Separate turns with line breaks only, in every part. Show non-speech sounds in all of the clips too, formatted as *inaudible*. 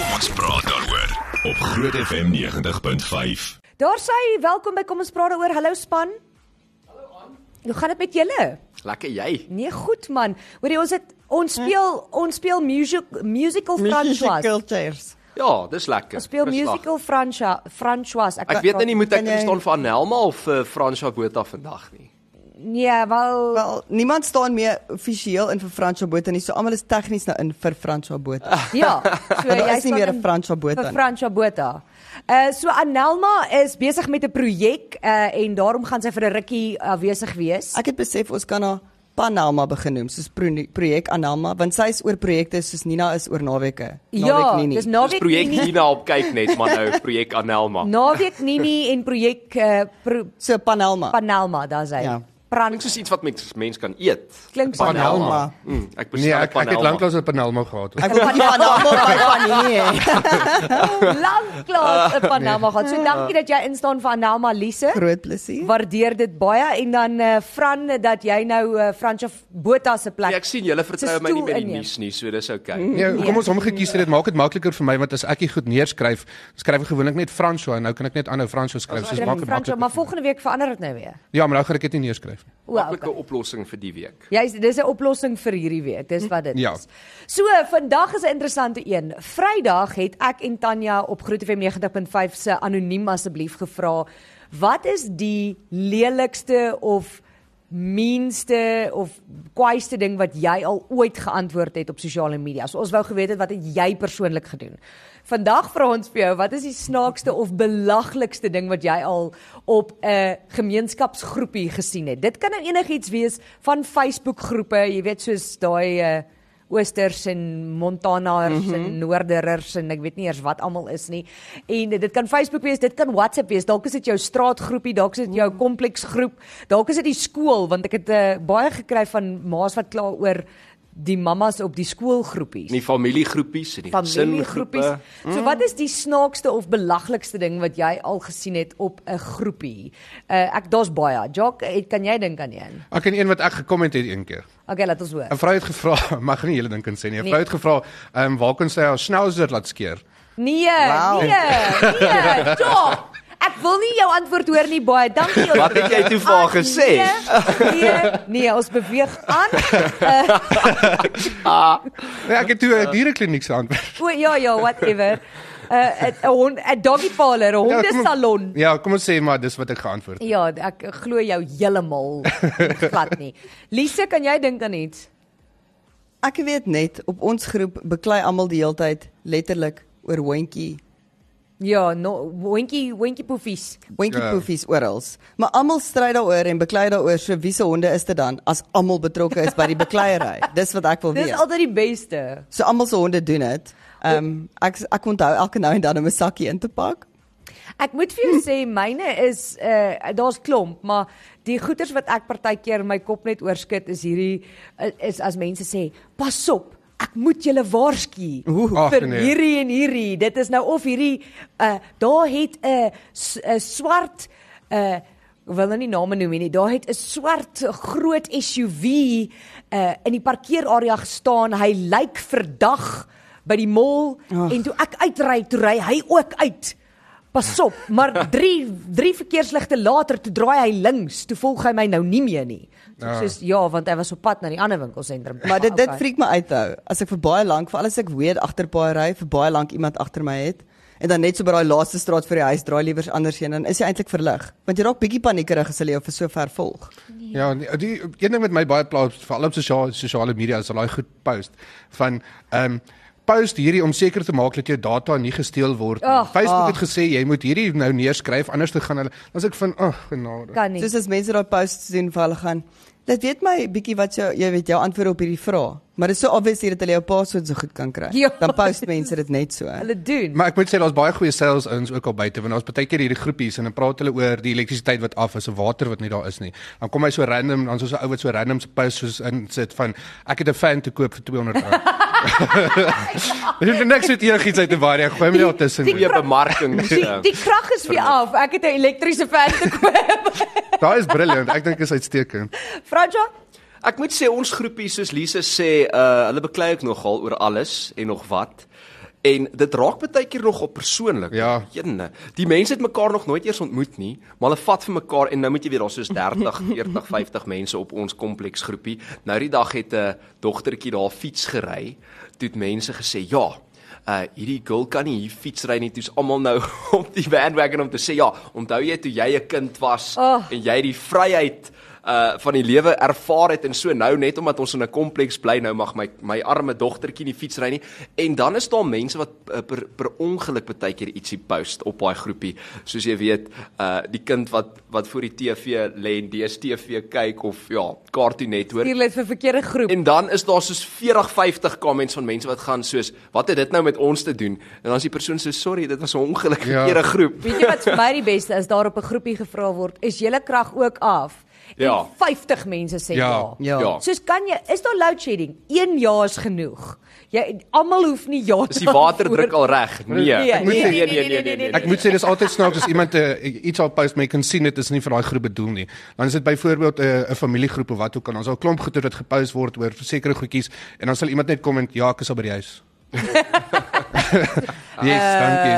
Ons praat daaroor op Groot FM 90.5.
Daar sê hy, welkom by Kom ons praat daaroor. Hallo span. Hallo aan. Hoe gaan dit met julle?
Lekker jy.
Nee, goed man. Hoorie, ons het ons speel ons speel music, musical François.
Cultures.
Ja, dis lekker.
Ons speel
Dis lag.
musical eh, François. François.
Ek weet nou nie moet ek
Kan jy-
verstaan vir Anelma of vir Franswa Botha vandag nie.
Nee, wel
*laughs* Wel, niemand staan meer offisieel in vir Franswa Botha nie. So almal is tegnies nou in vir Franswa Botha.
ja. So
daar is nie
staan
meer
in-
'n Franswa Botha
Vir
nie.
Franswa Botha. Uh so Anelma is besig met 'n projek uh en daarom gaan sy vir 'n rukkie afwesig wees.
Ek het besef ons kan haar Panama begin noem, soos pro- projek Anama, want sy is oor projekte soos Nina is oor naweke.
ja,
Naweek nie nie.
dis
Dis
naweek
projek
nie.
Nina op kyk net maar nou projek Anelma.
Naweek nie nie en projek uh pro,
so Panama.
Panelma, daar's hy. Ja.
Ja.
Pran
Klink soos iets wat mens mens kan eet.
klink so.
Panelma.
*laughs*
Mm, ek bestel
Nee, ek, ek het
Panelma.
lanklaas op Panelma gehad.
ek wil nie Panama by Panini
Nee.
hê.
lank klaar op Panama gehad. So dankie dat jy instaan vir Anelma Lise.
Groot plesier.
Waardeer dit baie en dan eh uh, Fran dat jy nou eh uh, Fransje Botha se plek.
Nee, ek sien julle
Dis
vertrou my nie
toe
met die
inneem.
nuus nie, so dis okay.
Nee,
Nee.
kom ons hom gekies het, dit maak dit makliker vir my want as ek dit goed neerskryf, skryf ek gewoonlik net François en nou kan ek net aanhou François skryf, so dit maak dit
Fransje, maar
makliker.
volgende week verander dit nou weer.
Ja, maar nou gaan ek dit nie neerskryf nie.
O,
Maklike
okay.
oplossing vir die week.
Jy's dis 'n oplossing vir hierdie week. Dis wat dit
Ja.
is. So, vandag is 'n interessante een. Vrydag het ek en Tanya op Groot FM 90.5 se anoniem asseblief gevra, wat is die lelikste of meanste of kwaaiste ding wat jy al ooit geantwoord het op sosiale media? So ons wou geweet het wat het jy persoonlik gedoen? Vandag vra ons vir jou, wat is die snaakste of belaglikste ding wat jy al op 'n gemeenskapsgroepie gesien het? Dit kan nou enigiets wees van Facebookgroepe, jy weet soos daai uh, Oosters en Montanaers mm -hmm. en Noorderers en ek weet nie eers wat almal is nie. En eh, dit kan Facebook wees, dit kan WhatsApp wees, dalk is dit jou straatgroepie, dalk is dit jou kompleksgroep, dalk is dit die skool want ek het uh, baie gekry van ma's wat kla oor die mammas op die skoolgroepies
In die familiegroepies en die
familiegroepies.
gesingroepe.
So wat is die snaakste of belaglikste ding wat jy al gesien het op 'n groepie? Uh, ek daar's baie. Jock, het, kan jy dink aan een?
Ek en een wat ek gekomment het een keer.
Okay, laat ons hoor.
'n Vrou het gevra, *laughs* mag nie julle dink kan sê nie. 'n
Nee.
Vrou het gevra, "Ehm um, waar kon sy haar schnauzer laat skeer?"
Nee,
Wow.
nee,
*laughs*
nee, Jock. Ek wil nie jou antwoord hoor nie baie. Dankie.
Wat het jy toe vir haar
Ah,
gesê?
Nee, nee, nee, ons beweeg
*laughs*
aan. Uh,
Nee, ek het toe 'n dierekliniek se antwoord.
o ja, ja, whatever. 'n uh, 'n hond- 'n doggy parlor, 'n
Ja, kom-
hondesalon.
Ja, kom ons sê maar dis wat ek geantwoord het.
Ja, ek glo jou heeltemal glad nie. Lise, kan jy dink aan iets?
Ek weet net op ons groep beklei almal die heeltyd letterlik oor hondjie
Ja, no, hondjie, hondjie poefies.
Hondjie
Ja.
poefies oral. Maar almal stry daaroor en beklei daaroor so wie se honde is dit dan as almal betrokke is by die bekleierery. Dis wat ek wil
Dis
Nee.
weet.
altyd die beste.
So almal se honde doen dit. Ehm um, ek ek onthou elke nou en dan om 'n sakkie in te pak.
Ek moet vir jou sê myne is uh daar's klomp, maar die goeters wat ek partykeer my kop net oorskit is hierdie eh, is as mense sê, pas op. Ek moet julle waarsku
Ag,
vir
nee.
hierdie en hierdie. Dit is nou of hierdie uh daar het 'n s- 'n swart uh ek wil nou nie name noem nie. Daar het 'n swart groot SUV uh in die parkeerarea gestaan. Hy lyk verdag by die mall
Ag.
en toe ek uitry, toe ry hy ook uit. Pas op,
*laughs*
maar drie drie verkeersligte later toe draai hy links, toe volg hy my nou nie meer nie. So ek
Ah.
sê ja, want hy was op pad na die ander winkelsentrum.
Maar dit dit
okay.
freak my uit hou. As ek vir baie lank, veral as ek weet agter paai ry, vir baie lank iemand agter my het en dan net so by daai laaste straat vir die huis draai liewers andersheen dan is jy eintlik verlig. Want jy raak bietjie paniekerig as hulle jou vir so ver volg.
Ja, nee, die een ding wat my baie pla veral op sosiale sosiale media is al daai goed post van ehm um, post hierdie om seker te maak dat jou data nie gesteel word nie.
Ag,
Oh, Facebook
ag.
oh. het gesê jy moet hierdie nou neerskryf anders te gaan hulle. Dan sê ek van ag genade.
kan nie.
Soos as mense daai posts doen vir hulle gaan. Dit weet my bietjie wat jou jy weet jou antwoord op hierdie vraag, maar dit is so obviously dat hulle jou password so goed kan kry.
Ja.
Dan post mense dit net so.
Hulle doen.
Maar ek moet sê daar's baie goeie sales ins ook al buite want daar's baie keer hierdie groepies en dan praat hulle oor die elektrisiteit wat af is of water wat nie daar is nie. Dan kom hy so random dan so 'n ou wat so random se post soos insit van ek het 'n fan te koop vir
*laughs*
200 rand. *laughs* Dit is niks met enigiets uit en waar jy gooi my daar tussen.
die
Goeie eh. bemarking.
*laughs* Die, die krag is weer af. Ek het 'n elektriese fan
*laughs*
gekoop.
Daai is brilliant. Ek dink is uitstekend.
ja?
Franja,
Ek eh, moet sê ons groepie soos Lise sê, uh hulle beklei ook nogal oor alles en nog wat. En dit raak baie keer nog op persoonlik.
Ja.
Jene, die mense het mekaar nog nooit eers ontmoet nie, maar hulle vat vir mekaar en nou moet jy weet daar's soos 30, 40, 50 mense op ons kompleks groepie. Nou die dag het 'n dogtertjie daar fiets gery. Toe het mense gesê, "Ja, uh hierdie girl kan nie hier fiets ry nie." Toe's almal nou *laughs* op die bandwagon om te sê, "Ja, onthou jy toe jy 'n kind was
Oh.
en jy die vryheid uh van die lewe ervaar het en so nou net omdat ons in 'n kompleks bly nou mag my my arme dogtertjie nie fiets ry nie en dan is daar mense wat uh, per per ongeluk baie keer ietsie post op daai groepie soos jy weet uh die kind wat wat voor die TV lê en DStv kyk of ja Cartoon Network
Stuur dit vir verkeerde groep.
En dan is daar soos 40, 50 comments van mense wat gaan soos wat het dit nou met ons te doen? En dan is die persoon so sorry, dit was 'n ongelukkige
Ja.
ja. keer 'n groep.
Weet jy wat vir my die beste is daar op 'n groepie gevra word, is julle krag ook af?
Ja.
En 50 mense sê ja.
Ja.
Ja.
Ja.
Soos kan jy is daar load shedding? 1 jaar is genoeg. Jy almal hoef nie ja
Is die waterdruk al reg? Nee.
Nee,
Ek moet
nee,
sê,
nee, nee, nee, nee,
Ek moet sê dis altyd snaaks as iemand 'n iets al post maar jy kan sien dit is nie vir daai groep bedoel nie. Dan is dit byvoorbeeld 'n 'n familiegroep of wat ook al. Ons al klomp goeie wat gepost word oor sekere goedjies en dan sal iemand net kom en ja, ek is al by die huis. yes, dankie.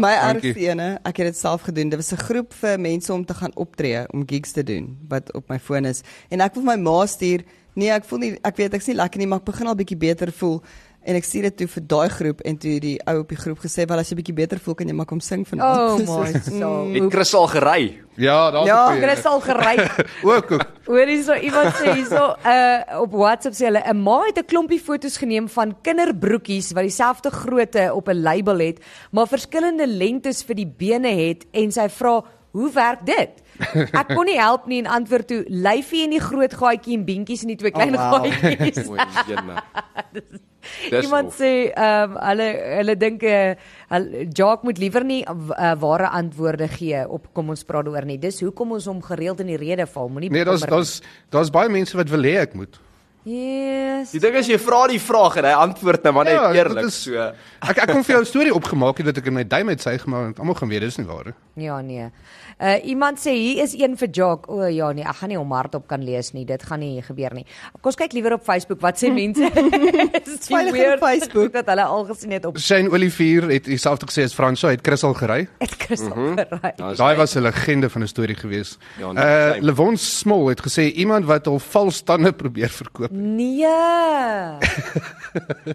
My
dankie.
ergste ene, ek het dit self gedoen. Dit was 'n groep vir mense om te gaan optree, om gigs te doen wat op my foon is. En ek wil my ma stuur, nee, ek voel nie ek weet ek's nie lekker nie, maar ek begin al bietjie beter voel. En ek stuur dit toe vir daai groep en toe het die ou op die groep gesê, "Wel as jy bietjie beter voel, kan jy maar kom sing
Oh
*laughs* vanaand."
my god.
Het Chris al gery?
Ja, daar's
Ja,
die-
Chris al gery.
*laughs*
Ook ook.
Hoor hierso iemand sê hierso uh op WhatsApp sê hulle 'n ma het 'n klompie foto's geneem van kinderbroekies wat dieselfde grootte op 'n label het, maar verskillende lengtes vir die bene het en sy vra, "Hoe werk dit?" Ek kon nie help nie en antwoord toe, "Lyfie in die groot gaatjie en beentjies in die twee klein
wow.
gaatjies."
O, jene. *laughs* Dis
Iemand
rof.
sê ehm um, hulle hulle dink eh uh, Jacques moet liewer nie uh, ware antwoorde gee op kom ons praat daaroor nie. Dis hoekom ons hom gereeld in die rede val. Moenie
Nee, daar's
bekommer
daar's daar's baie mense wat wil hê ek moet.
nie. Yes.
Die ding is jy vra die vraag en hy antwoord nou maar net ja,
dit
eerlik is...
is-
so.
Ek ek kon vir jou 'n storie opgemaak het dat ek in my duim het sy gemaak en almal gaan weet dis nie waar nie.
Ja nee. Uh iemand sê hier is een vir Jock. O ja nee, ek gaan nie hom hardop kan lees nie. Dit gaan nie gebeur nie. Kom ons kyk liewer op Facebook wat sê
*laughs*
mense. Dis
Veilig op Facebook.
*laughs* dat hulle al gesien het op
Shane Olivier het dieselfde gesê as Franso, hy het Chris al gery.
het
Mhm.
Christel mm -hmm. geraai.
Nou,
Daai was 'n legende van 'n storie gewees.
Ja,
Ja,
nee,
uh
same.
Levon Smol het gesê iemand wat hul vals tande *laughs* probeer verkoop. *laughs*
Nee.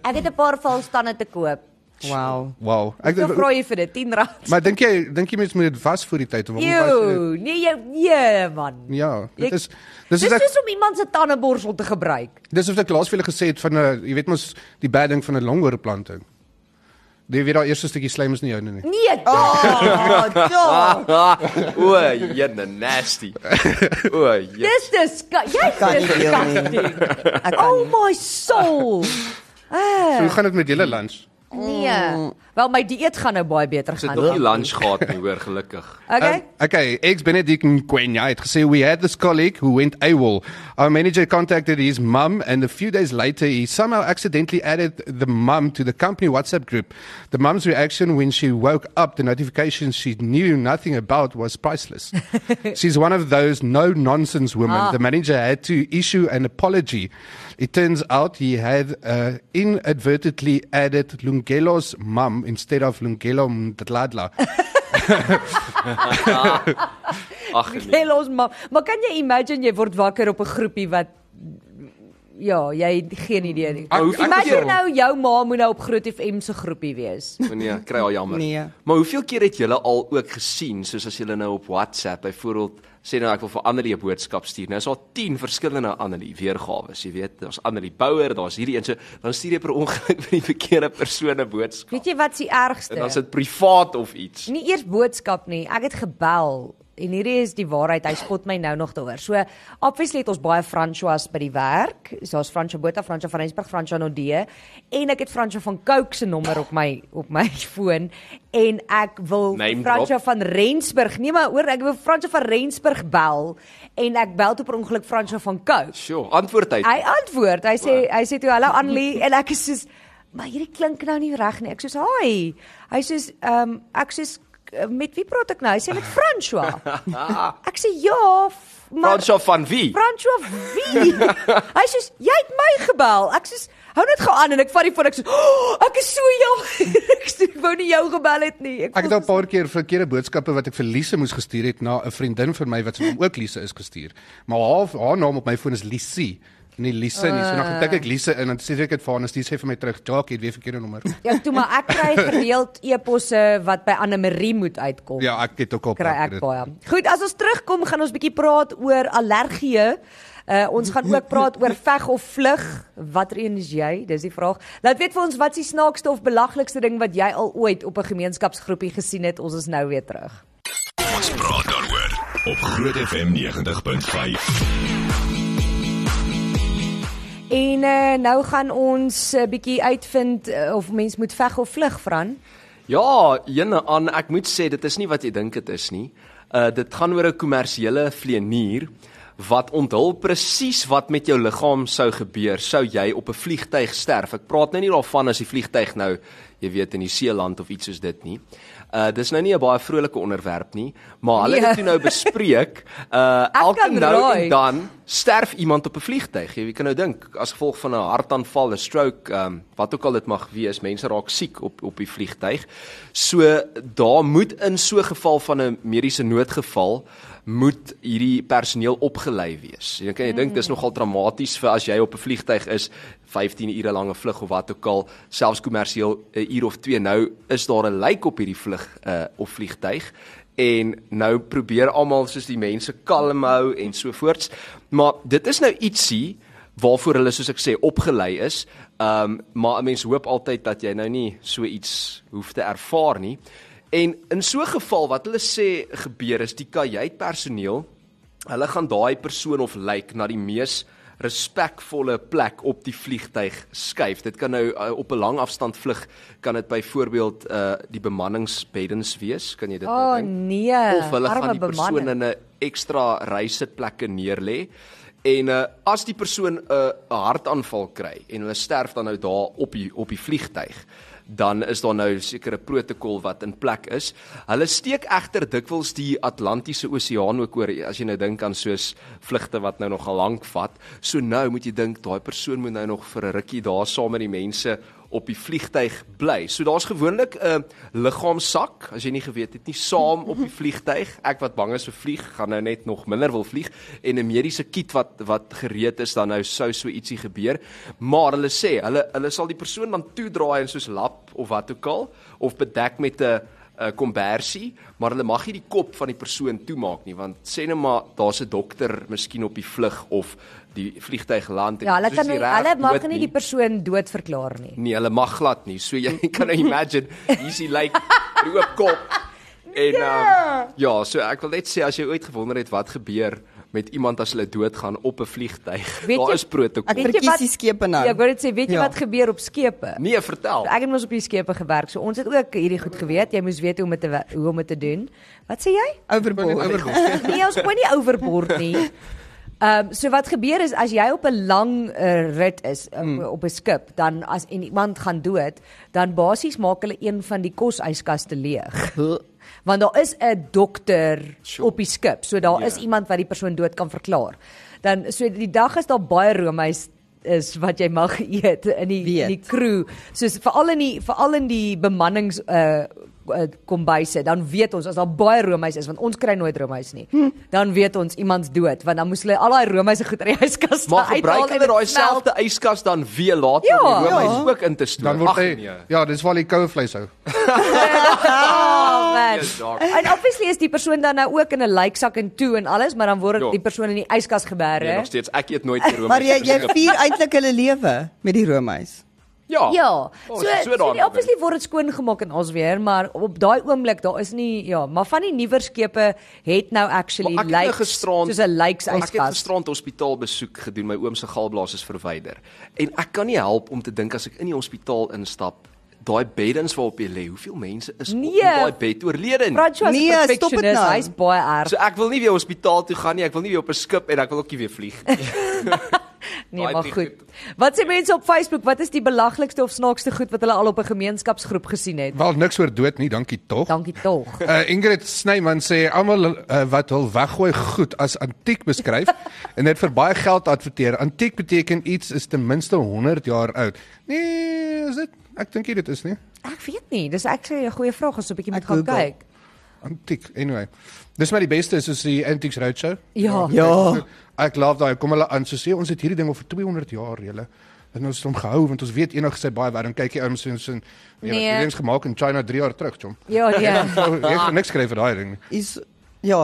ek het 'n paar valstande te koop.
Wow.
Wow. Ek
Ek vra jy vir dit 10 rand.
maar dink jy dink jy mens moet dit vas voor die tyd of dit?
Ew, nee jy nee man.
Ja,
Ek-
dit is
Dis
dis is ek,
soos om iemand se tandeborsel te gebruik.
dis of ek laas vir julle gesê het van 'n jy weet mos die bad ding van 'n longoorplanting. Jy weet daai eerste stukkie slijm is nie joune nie.
Nee,
Oh, ja.
Ah, *laughs* o, jene nasty. O, jene.
dis dis jy's
Kan nie deel nie.
disgusting.
Ek kan
Oh
nie.
my soul.
So, hoe gaan dit met julle lunch?
Nee. Wel my dieet gaan nou baie beter
Ons het
gaan.
nog nie lunch gehad nie, hoor, gelukkig.
Okay.
Um, okay, ex Benedict Nkwenya had to say we had this colleague who went AWOL. Our manager contacted his mum, and a few days later, he somehow accidentally added the mum to the company WhatsApp group. The mum's reaction when she woke up, the notification she knew nothing about was priceless. She's one of those no nonsense women. The manager had to issue an apology. It turns out he had uh, inadvertently added Lungelo's mum instead of Lungelo Mdladla.
Ag nee.
Hel ons maar. Maar kan jy imagine jy word wakker op 'n groepie wat ja, jy het geen idee nie.
Maar hoeveel
Imagine
keer-
nou jou ma moet nou op Groot FM se groepie wees.
O, Nee, kry al jammer.
Nee.
Maar hoeveel keer het julle al ook gesien soos as julle nou op WhatsApp byvoorbeeld sê nou ek wil vir Annelie 'n boodskap stuur. Nou is daar 10 verskillende Annelie weergawe. Jy weet, daar's Annelie Bouwer, daar's hierdie een so, dan stuur jy per ongeluk *laughs* vir die verkeerde persoon 'n boodskap.
Weet jy wat se
En dan is
ergste?
dit privaat of iets.
Nie eers boodskap nie. Ek het gebel en hierdie is die waarheid. Hy spot my nou nog daaroor. So obviously het ons baie Francois by die werk. So ons Francois Botha, Francois van Rensburg, Francois Nodee en ek het Francois van Cooke se nommer op my op my *laughs* foon en ek wil
Name drop.
Francois van Rensburg. Nee, maar hoor, ek wil Fransjo van Rensburg bel en ek bel toe per ongeluk Fransjo van Cooke.
Sjoe, antwoord hy.
Hy antwoord. Hy sê hy sê toe hallo Annelie *laughs* en ek is soos maar hierdie klink nou nie reg nie. Ek soos hi. Hy sê ehm um, ek sê met wie praat ek nou? Hy sê met
*laughs*
François. ek sê ja, f- maar
Fransjo van wie?
*laughs*
François wie? hy sê jy het my gebel. Ek sê hou net gou aan en ek vat die foon ek sê, oh, "Ek is so jammer. *laughs* ek sê, ek wou nie jou gebel het nie."
Ek het
voel
al 'n paar keer verkeerde boodskappe wat ek vir Lise moes gestuur het na 'n vriendin van my wat vir hom ook Lise is gestuur. Maar haar haar naam op my foon is Lisie. Nie Lise nie. So dan
Ah.
gaan tik ek Lise in en sê ek dit vir haar en sy sê vir my terug, "Jacques, jy het weer verkeerde nommer."
Ja, toe maar ek kry gereeld e-posse wat by Anne Marie moet uitkom.
Ja, ek het ook al
kry ek baie. Goed, as ons terugkom gaan ons bietjie praat oor allergieë. Uh ons gaan ook praat oor veg of vlug. Watter een is jy? Dis die vraag. Laat weet vir ons wat is die snaakste of belaglikste ding wat jy al ooit op 'n gemeenskapsgroepie gesien het. Ons is nou weer terug.
Ons praat daaroor op Groot FM 90.5.
En uh nou gaan ons 'n uh, bietjie uitvind uh, of mens moet veg of vlug, Fran.
Ja, jene aan, ek moet sê dit is nie wat jy dink dit is nie. Uh dit gaan oor 'n kommersiële vleenier wat onthul presies wat met jou liggaam sou gebeur sou jy op 'n vliegtyg sterf. Ek praat nou nie daarvan as die vliegtyg nou, jy weet in die Seeland of iets soos dit nie. Uh dis nou nie 'n baie vrolike onderwerp nie, maar hulle het
Nee.
dit toe nou bespreek. Uh
Ek
elke
kan
nou
raai.
en dan sterf iemand op 'n vliegtyg. Jy kan nou dink as gevolg van 'n hartaanval, 'n stroke, ehm um, wat ook al dit mag wees, mense raak siek op op die vliegtyg. So daar moet in so 'n geval van 'n mediese noodgeval moet hierdie personeel opgelei wees. Jy kan jy dink
Mm.
dis nogal dramaties vir as jy op 'n vliegtyg is 15 ure lange vlug of wat ook al, selfs kommersieel 'n uur of 2 nou is daar 'n lijk op hierdie vlug uh op vliegtyg en nou probeer almal soos die mense kalm hou en so voorts. Maar dit is nou ietsie waarvoor hulle soos ek sê opgelei is. Ehm um, maar 'n mens hoop altyd dat jy nou nie so iets hoef te ervaar nie. En in so 'n geval wat hulle sê gebeur is die kajuitpersoneel Hulle gaan daai persoon of lijk na die mees respekvolle plek op die vliegtyg skuif. Dit kan nou uh, op 'n lang afstand vlug kan dit byvoorbeeld uh die bemanningsbeddens wees, kan jy dit nou
O,
dink?
nee,
Of hulle gaan
arme
die persoon in
bemanning.
'n ekstra reisitplekke neerlê. En uh as die persoon 'n uh, 'n hartaanval kry en hulle sterf dan nou daar op die op die vliegtyg, dan is daar nou sekere protokol wat in plek is. Hulle steek egter dikwels die Atlantiese Oseaan ook oor as jy nou dink aan soos vlugte wat nou nogal lank vat. So nou moet jy dink daai persoon moet nou nog vir 'n rukkie daar saam met die mense op die vliegtyg bly. So daar's gewoonlik 'n liggaamsak, as jy nie geweet het nie, saam op die vliegtyg. Ek wat bang is vir vlieg, gaan nou net nog minder wil vlieg en 'n mediese kit wat wat gereed is dan nou sou so ietsie gebeur. Maar hulle sê, hulle hulle sal die persoon dan toedraai en soos lap of wat ook al of bedek met 'n 'n kombersie, maar hulle mag nie die kop van die persoon toemaak nie want sê nou maar daar's 'n dokter miskien op die vlug of die vliegtyg land en
Ja, hulle
soos
kan
die
nie,
reg
hulle mag
dood
nie die persoon dood verklaar nie.
Nee, hulle mag glad nie. So jy *laughs* kan nou imagine, hier's die lyk, die oop
*laughs*
kop. En um, ja, so ek wil net sê as jy ooit gewonder het wat gebeur met iemand as hulle doodgaan op 'n vliegtyg,
Weet
daar
jy-
is protokol.
Ek
Weet jy
verkies
wat-
die skepe nou.
Ja, ek wou dit sê, weet jy
Ja.
wat gebeur op skepe?
Nee, vertel.
Ek het mos op die skepe gewerk, so ons het ook hierdie goed geweet. Jy moes weet hoe om dit te we- hoe om dit te doen. Wat sê jy? *laughs*
Overboord.
Nee, ons gooi nie overboord nie. Ehm um, so wat gebeur is as jy op 'n lang uh, rit is um, op 'n skip, dan as en iemand gaan dood, dan basies maak hulle een van die kosuiskaste leeg. Want daar is 'n dokter
Sure.
op die skip. So daar
Ja.
is iemand wat die persoon dood kan verklaar. Dan so die dag is daar baie roomys is wat jy mag *laughs* eet in die in die
Weet.
crew. Soos veral in die veral in die bemannings uh uh, kombuise, dan weet ons as daar baie roomys is want ons kry nooit roomys nie. Hm. Dan weet ons iemand dood want dan moes hulle al daai roomys se goed uit die yskas
maar
uithaal
gebruik
en
hulle daai
dit smelt. *laughs*
selfde yskas dan weer later
Ja.
om die roomys
Ja.
ook in te stoor.
Dan word
Ag,
hy
nee.
Ja, dis waar die koue vleis hou.
Oh, man.
Yes, dog.
en obviously is die persoon dan nou ook in 'n lijksak en toe en alles, maar dan word
Ja.
die persoon in die yskas geberg.
Nee,
hè?
nog steeds ek eet
*laughs*
nooit weer roomys.
Maar jy jy
op 'n skip.
vier eintlik hulle lewe met die roomys.
Ja.
Ja.
Oh,
So,
is dit
so,
daarmee
so
dink?
obviously word dit skoon gemaak en ons weer, maar op daai oomblik daar is nie ja, maar van die nuwer skepe het nou actually
Maar ek het nou
likes
gisterand-
soos 'n likes
Ek het
yskas.
gisterand hospitaal besoek gedoen, my oom se galblaas is verwyder. En ek kan nie help om te dink as ek in die hospitaal instap, daai beddens waarop jy lê, hoeveel mense is
Nee.
op in daai bed oorlede nie.
Francois
Nee,
nee,
stop
is 'n
het
perfectionist,
nou.
hy's baie erg.
So ek wil nie weer hospitaal toe gaan nie, ek wil nie weer op 'n skip en ek wil ook nie weer vlieg nie.
Nee,
Daai
maar
drie
goed. Wat sê mense op Facebook? Wat is die belaglikste of snaakste goed wat hulle al op 'n gemeenskapsgroep gesien het?
Wel niks oor dood nie, dankie tog.
Dankie tog.
Uh, Ingrid Snyman sê almal uh, wat hul weggooi goed as antiek beskryf *laughs* en dit vir baie geld adverteer. Antiek beteken iets is ten minste 100 jaar oud. Nee, is dit? Ek dink nie dit is nie.
Ek weet nie, dis actually 'n goeie vraag as so 'n bietjie moet
Ek
gaan
Google.
kyk.
Antiek. Anyway. Dis maar die beste is soos die Antiques Roadshow.
Ja.
Ja.
Ek love daai kom hulle aan so sê ons het hierdie ding al vir 200 jaar julle en ons het hom gehou want ons weet enig sy baie warm kyk hier ouens ons en
Nee.
hierdie ding's gemaak in China 3 jaar terug, chom.
Ja,
*laughs*
nee.
Jy het niks skryf vir daai ding nie.
Is ja,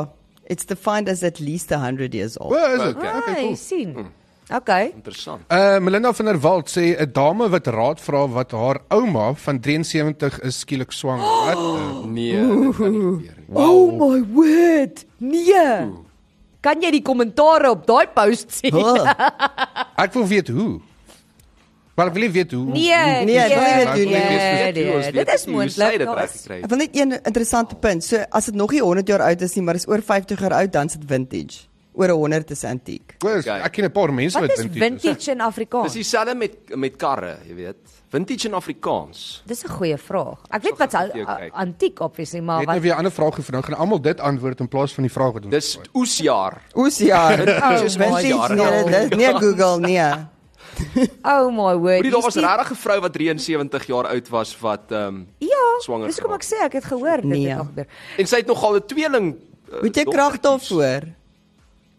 it's defined as at least 100 years old.
Wel, is dit?
Ah, jy
Okay, cool.
Hmm.
sien. Okay.
Interessant.
Uh Melinda van der Walt sê 'n dame wat raad vra wat haar ouma van 73 is skielik
*gasps*
swanger. Wat? Uh,
Nee, dit kan nie gebeur nie.
Oh my word. Nee. Kan jy die kommentare op daai post sien?
Huh.
ek wil weet hoe. Maar ek wil nie weet hoe. hoe-
Nee,
hoe-
nee, ek wil nie dit doen nie.
nee,
Ons
nee,
weet
dit is
nie hoe sy
moontlik.
dit
daar
reg
is-
gekry
Ek
het.
wil net een interessante punt. So as dit nog nie 100 jaar oud is nie, maar is oor 50 jaar oud, dan is dit vintage. Oor 100 is antiek.
Koos,
Okay.
Ek ken 'n paar mense
Wat
wat
is
vintage is.
vintage in
Dis
Afrikaans?
dieselfde met met karre, jy weet. Vintage in Afrikaans.
Dis 'n goeie vraag. Ek weet wat
gaan ek vir jou
a-
kyk.
antiek obviously,
Jy
maar
het nou
wat
weer 'n ander vraag gevra. Nou gaan almal dit antwoord in plaas van die vraag wat ons
Dis
gevra het.
oesjaar.
Oes ja.
Vintage is baie
Vintage
jare
nee,
oud.
dit- nee Google nee.
Oh my word.
Hoorie, daar was regtig 'n vrou wat 73 jaar oud was wat ehm um,
Ja,
swanger
dis hoekom ek
geraak.
sê ek het gehoor dit
Nee.
het nog gebeur.
en sy het nogal 'n tweeling. Uh,
Moet jy
dogtertjies.
krag daarvoor?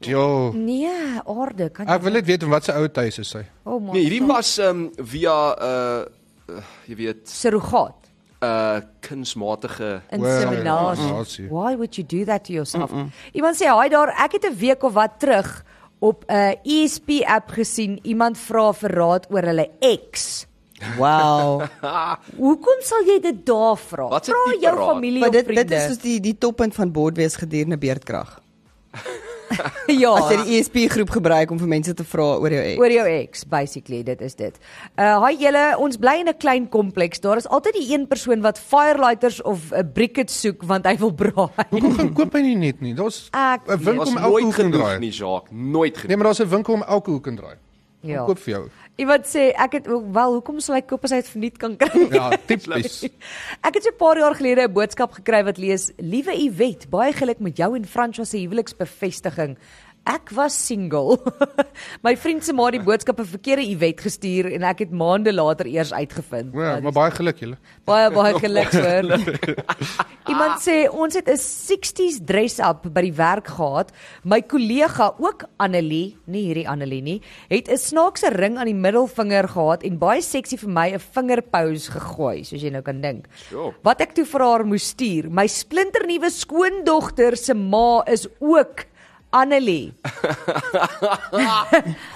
Ja.
Nee, aarde kan
Ek wil net weet in watter ou huis is sy.
Oh my.
Nee, hierdie
God.
was ehm um, via uh, uh jy weet,
surrogaat
uh kunsmatige
inseminasie.
inseminasie. Why would you do that to yourself? Mm -mm. Iemand sê, "Haai daar, ek het 'n week of wat terug op 'n ESP app gesien iemand vra vir raad oor hulle ex."
Wow.
Hoekom sal jy dit daar vra?
Wat se
Vra
tipe
jou
raad?
familie
Maar
of
dit dit
vriende.
is soos die die toppunt van bordwees gedurende beerdkrag.
*laughs* ja,
As jy die ESP groep gebruik om vir mense te vra oor jou ex.
oor jou ex basically, dit is dit. Uh hi julle, ons bly in 'n klein kompleks. Daar is altyd die een persoon wat firelighters of 'n briquet soek want hy wil braai. *laughs*
Hoekom gaan koop hy nie net nie? Daar's
Ek
'n winkel
was
om elke
nooit
hoek kan
genoeg
draai.
nie, Jacques, nooit genoeg.
Nee, maar daar's 'n winkel om elke hoek kan draai. Kom
Ja.
Koop vir jou.
Iemand sê ek het ook wel hoekom sal hy koop as hy dit verniet kan kry?
*laughs*
Ja, tipies.
*laughs* Ek het so 'n paar jaar gelede 'n boodskap gekry wat lees: "Liewe Iwet, baie geluk met jou en François se huweliksbevestiging. Ek was single. *laughs* My vriend se ma het die boodskap 'n verkeerde Iwet gestuur en ek het maande later eers uitgevind."
Ja,
Dat
maar
is
baie geluk julle.
baie baie geluk hoor. Iemand sê ons het 'n 60s dress-up by die werk gehad. My kollega, ook Annelie, nie hierdie Annelie nie, het 'n snaakse ring aan die middelvinger gehad en baie seksie vir my 'n vingerpous gegooi, soos jy nou kan dink.
Sure.
Wat ek toe vir haar moes stuur, my splinternuwe skoondogter se ma is ook Annelie.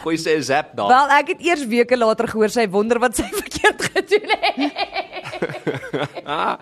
Gooi sê zap daar.
Wel, ek het eers weke later gehoor sy wonder wat sy *laughs* verkeerd gedoen het.
Ah,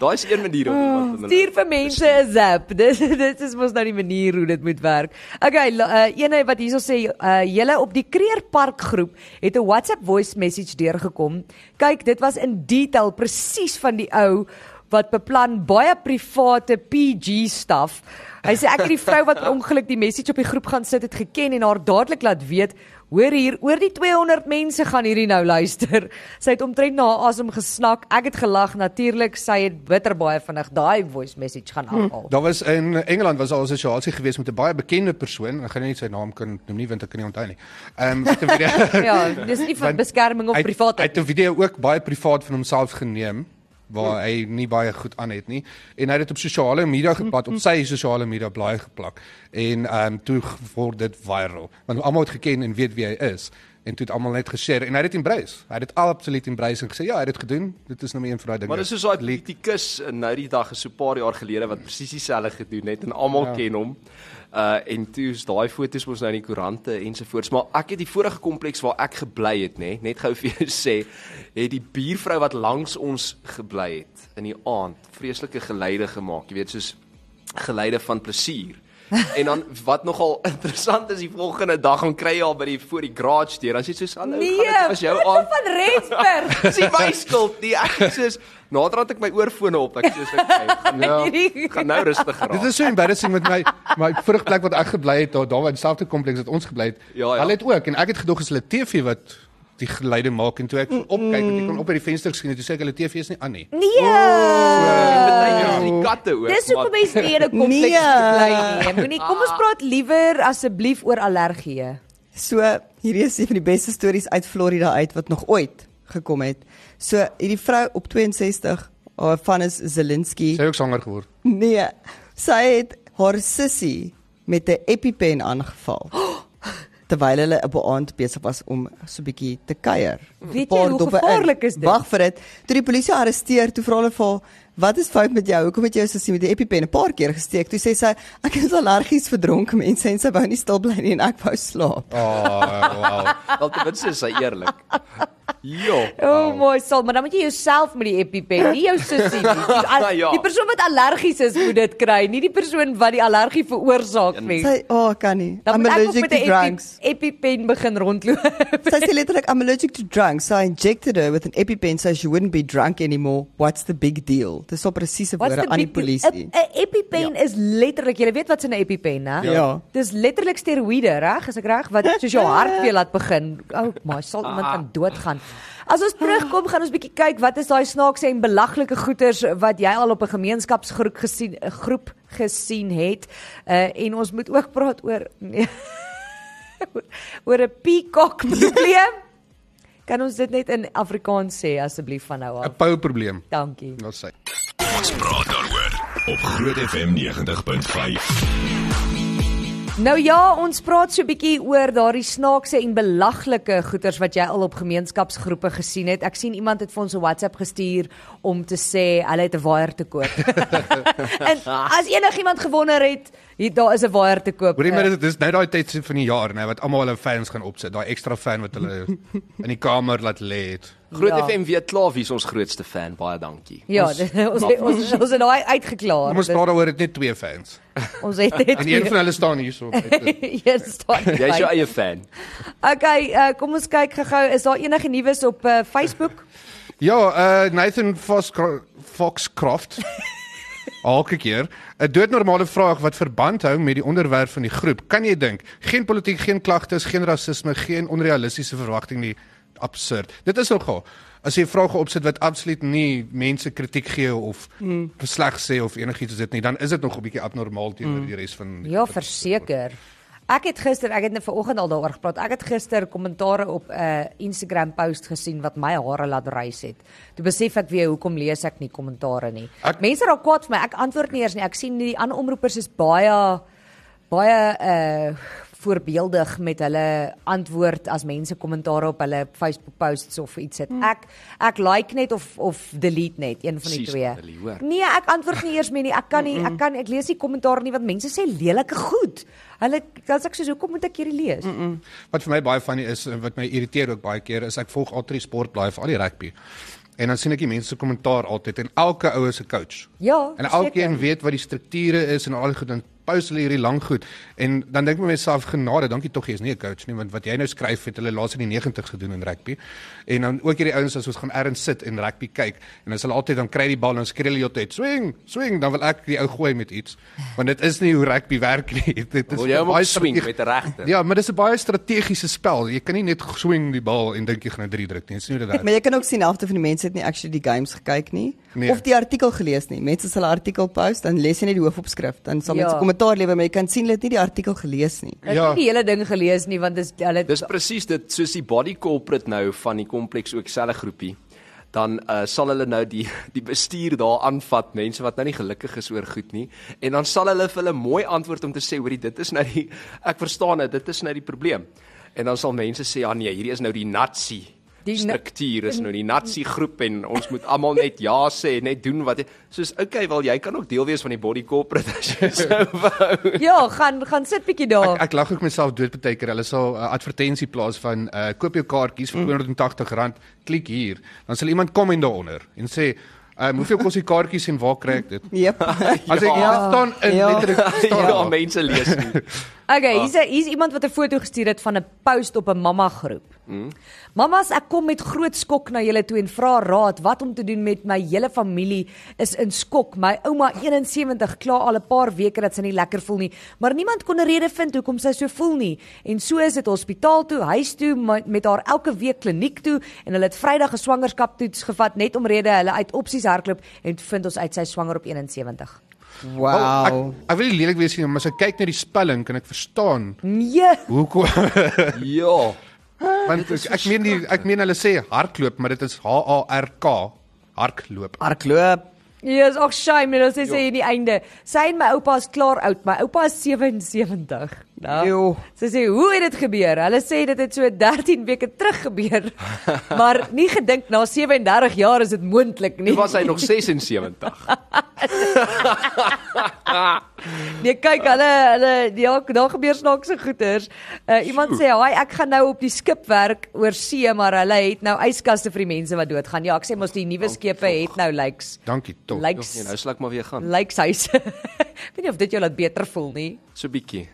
Daai is een manier om iemand te
Oh, Stuur vir mense 'n zap. *laughs* Dis dit is mos nou die manier hoe dit moet werk. Okay, la- uh, eene wat hierso sê, uh, julle op die Kreerpark groep het 'n WhatsApp voice message deurgekom. Kyk, dit was in detail presies van die ou wat beplan baie private PG staf. Hy sê ek het die vrou wat per ongeluk die message op die groep gaan sit het geken en haar dadelik laat weet Hoor hier, oor die 200 mense gaan hierdie nou luister. *laughs* Sy het omtrent na haar asem gesnak. Ek het gelag natuurlik. Sy het bitter baie vinnig daai voice message gaan afhaal.
Daar was in Engeland was al 'n situasie gewees met 'n baie bekende persoon, ek gaan nie sy naam kan noem nie want ek kan nie onthou nie. Ehm wat
*laughs*
'n video
Ja, dis nie vir
Want
beskerming of
hy- Hy
privaatheid.
het 'n video ook baie privaat van homself geneem waar hy nie baie goed aan het nie en hy het dit op sosiale media geplaas, op sy sosiale media blaai geplak. En ehm um, toe word dit viral want almal het geken en weet wie hy is en toe het almal net geshare en hy het dit embrace. Hy het dit absoluut embrace en gesê ja, hy het dit gedoen. Dit is nou meer een van daai dinge.
Maar dis soos daai politikus in nou die dag is so 'n paar jaar gelede wat presies dieselfde gedoen het en almal ja. ken hom. Uh en toe is daai foto's mos nou in die koerante ensovoorts, maar ek het die vorige kompleks waar ek gebly het, nê, nee, net gou *laughs* vir jou sê, het die buurvrou wat langs ons gebly het in die aand vreeslike geluide gemaak, jy weet soos geluide van plesier. en dan wat nogal interessant is die volgende dag gaan kry jy al by die voor die garage deur. Dan sê jy so hallo,
Nee,
gaan dit was jou
foto
aan.
van
*laughs*
Rensburg.
Dis nie my skuld nie. Ek sê naderhand ek my oorfone op. Ek sê so ek gaan nou gaan nou rustig raak.
Dit is so embarrassing met my my vrugplek wat ek gebly het daar daar waar in dieselfde kompleks wat ons gebly het.
Ja, ja.
Hulle het ook en ek het gedog is hulle TV wat die geluide maak en toe ek opkyk en ek kon op by die venster skien en toe sê ek hulle TV is nie aan nie.
baie
Nee.
vir die katte ook.
Dis hoekom mense nie in 'n kompleks
Nee.
bly nie. Moenie kom ons praat liewer asseblief oor allergieë.
So hierdie is een van die beste stories uit Florida uit wat nog ooit gekom het. So hierdie vrou op 62, haar van is Zelensky.
Sy het ook swanger geword.
Nee, sy het haar sussie met 'n EpiPen aangeval. *gasps* Terwyl hulle op 'n aand besig was om so 'n bietjie te kuier.
Weet
'n paar
jy hoe
doppe in.
gevaarlik is dit?
Wag vir dit. Toe die polisie haar arresteer, toe vra hulle vir haar, "Wat is fout met jou? Hoekom het jou sussie met 'n EpiPen 'n paar keer gesteek?" Toe sê sy, "Ek is allergies vir dronk mense en sy wou nie stil bly nie en ek wou slaap."
Oh, wow.
wel ten minste is hy eerlik. Ja, Jo.
O, oh, mooi sal, maar dan moet jy jouself met die EpiPen, nie jou sussie nie. Die, al,
Ja.
die persoon wat allergies is moet dit kry, nie die persoon wat die allergie veroorsaak nie.
Sy, "O, oh, kan nie.
Dan
I'm
moet ek ook
allergic
met
to
'n epi,
drugs."
EpiPen begin rondloop.
Sy sê letterlik I'm allergic to drugs. So I injected her with an EpiPen so she wouldn't be drunk anymore. What's the big deal? Dis so presiese
Wat's
woorde aan die
big deal?
polisie.
'n 'n EpiPen is letterlik, jy weet wat 'n EpiPen, né?
Ja.
Dis letterlik steroïde, reg? Is ek reg? Wat soos jou hart weer laat begin. Ou, oh, maar sal iemand aan doodgaan. As ons terugkom, gaan ons bietjie kyk wat is daai snaakse en belaglike goeters wat jy al op 'n gemeenskapsgroep gesien 'n groep gesien het. Uh en ons moet ook praat oor *laughs* nee, oor- oor 'n peacock
*laughs*
probleem. Kan ons dit net in Afrikaans sê asseblief van nou
Ah.
'n
af?
Pou probleem.
Dankie.
Nou sê.
Ons praat daaroor op Groot FM 90.5.
Nou ja, ons praat so 'n bietjie oor daardie snaakse en belaglike goeters wat jy al op gemeenskapsgroepe gesien het. Ek sien iemand het vir ons 'n WhatsApp gestuur om te sê hulle het 'n waier te
*laughs*
koop. en as enigiemand gewonder het, hier daar is 'n waier te koop. eh,
Hoorie maar dit dis nou daai tyd van die jaar, né, wat almal hulle fans gaan opsit, daai ekstra fan wat hulle
*laughs*
in die kamer laat lê het.
Groot
Ja.
ja. FM weet klaar wie's ons grootste fan. Baie dankie.
Ja, *laughs* ons ons ons, ons het daai uitgeklaar.
Kom ons praat daaroor dit net twee fans.
Dis- ons het dit.
*laughs* Ja.
En een van hulle staan hierso.
*laughs* Hier staan.
Jy's jou eie fan.
Okay, uh, kom ons kyk gou-gou, is daar enige nuus op uh, Facebook?
Ja, uh Nathan Fox *laughs* Foxcroft. Elke keer 'n doodnormale vraag wat verband hou met die onderwerp van die groep. Kan jy dink? Geen politiek, geen klagtes, geen rasisme, geen onrealistiese verwagting nie. Absurd. Dit is nogal. As jy vrae opsit wat absoluut nie mense kritiek gee of mm. sleg sê of enigiets soos dit nie, dan is dit nog 'n bietjie abnormaal teenoor mm. die res van die
Ja, verseker. Ek het gister, ek het net vanoggend al daaroor gepraat. Ek het gister kommentare op 'n uh, Instagram post gesien wat my hare laat rys het. Toe besef ek weer hoekom lees ek nie kommentare nie. Ek,
Ek-
Mense raak kwaad vir my. Ek antwoord nie eers nie. Ek sien die ander omroepers is baie baie uh voorbeeldig met hulle antwoord as mense kommentaar op hulle Facebook posts of iets sit. Ek ek like net of of delete net een van die
Precies,
twee.
Natalie, hoor.
Nee, ek antwoord nie eers meer nie. Ek kan nie, ek kan ek lees nie kommentaar nie want mense sê lelike goed. Hulle dan's ek soos hoekom moet ek hierdie lees? Mm -mm.
Wat vir my baie funny is en wat my irriteer ook baie keer is ek volg altyd die sportblaai vir al die rugby. En dan sien ek die mense se kommentaar altyd en elke ou is 'n coach.
Ja,
En
seker.
elkeen weet wat die strukture is en al die goed en pause hulle hierdie lang goed. En dan dink ek my myself genade, dankie tog jy's nie 'n coach nie want wat jy nou skryf het hulle laas in die 90's gedoen in rugby. En dan ook hierdie ouens as ons gaan ergens sit en rugby kyk en as hulle altyd dan kry die bal en skree hulle heeltyd swing, swing, dan wil ek die ou gooi met iets. Want dit is nie hoe rugby werk nie. *laughs* Dit is
Wil jy hom
baie
op swing
strategie-
met 'n regter?
Ja, maar dis 'n baie strategiese spel. Jy kan nie net swing die bal en dink jy gaan 'n 3 druk nie. Dit is nie hoe dit werk.
Maar jy kan ook sien helfte van die mense het nie actually die games gekyk nie
Nee.
of die artikel gelees nie. Mense sal 'n artikel post dan lees jy net die hoofopskrif, dan sal
Ja.
mense kommentaar lewer, maar jy kan sien hulle het nie die artikel gelees nie.
Ek het
Ja.
nie die hele ding gelees nie want dis hulle
Dis presies dit soos die body corporate nou van die kompleks ook selfe groepie. Dan uh, sal hulle nou die *laughs* die bestuur daar aanvat, mense wat nou nie gelukkig is oor goed nie. En dan sal hulle vir hulle mooi antwoord om te sê, hoorie, dit is nou die *laughs* ek verstaan dit, dit is nou die probleem. En dan sal mense sê, ja nee, hierdie is nou die natsie
Die
die
na-
struktuur is nou die natsie groep en ons moet *laughs* almal net ja sê en net doen wat jy soos okay wel jy kan ook deel wees van die body corporate as jy *laughs* sou wou.
Ja, gaan gaan sit bietjie daar.
Ek, ek lag ook myself dood baie keer. Hulle sal 'n uh, advertensie plaas van eh, uh, koop jou kaartjies vir R280, klik hier. Dan sal iemand kom en daaronder en sê Ehm um, hoeveel kos die kaartjies en waar kry ek dit? *laughs*
Jep.
As ek
Ja.
hier staan in
Ja.
letterlik staan
Ja,
daar.
mense lees *laughs* nie.
Okay, hier's 'n- hier's iemand wat 'n foto gestuur het van 'n post op 'n mamma groep. Mm. Mamas, ek kom met groot skok na julle toe en vra raad wat om te doen met my hele familie is in skok. My ouma 71 kla al 'n paar weke dat sy nie lekker voel nie, maar niemand kon 'n rede vind hoekom sy so voel nie. En so is dit hospitaal toe, huis toe ma- met haar elke week kliniek toe en hulle het Vrydag 'n swangerskaptoets gevat net omrede hulle uit opsies hardloop en vind ons uit sy is swanger op 71.
Wel,
Wow.
Ek, ek wil nie lelik wees nie, maar as ek kyk na die spelling kan ek verstaan
Nee.
hoekom *laughs*
Ja.
want ek, ek meen die, ek meen hulle sê hardloop, maar dit is H A R K hardloop.
Hardloop.
Ja, yes, ag shame, dit sê sê in die einde. Sy en my oupa is klaar oud. My oupa is 77.
Jo.
Sy sê, "Hoe het dit gebeur?" Hulle sê dit het so 13 weke terug gebeur. maar nie gedink na 37 jaar is dit moontlik nie.
Toe was hy nog 76.
Nee, kyk, hulle hulle ja, daar gebeur snaakse goeters. Uh, iemand sê, "Haai, ek gaan nou op die skip werk oor see, maar hulle het nou yskaste vir die mense wat doodgaan." Ja, ek sê mos die nuwe skepe het nou lyks.
Dankie tog.
Ja,
Lyks.
nou slak maar weer gaan.
Lykshuise. *laughs* Ek weet nie of dit jou laat beter voel nie.
So bietjie.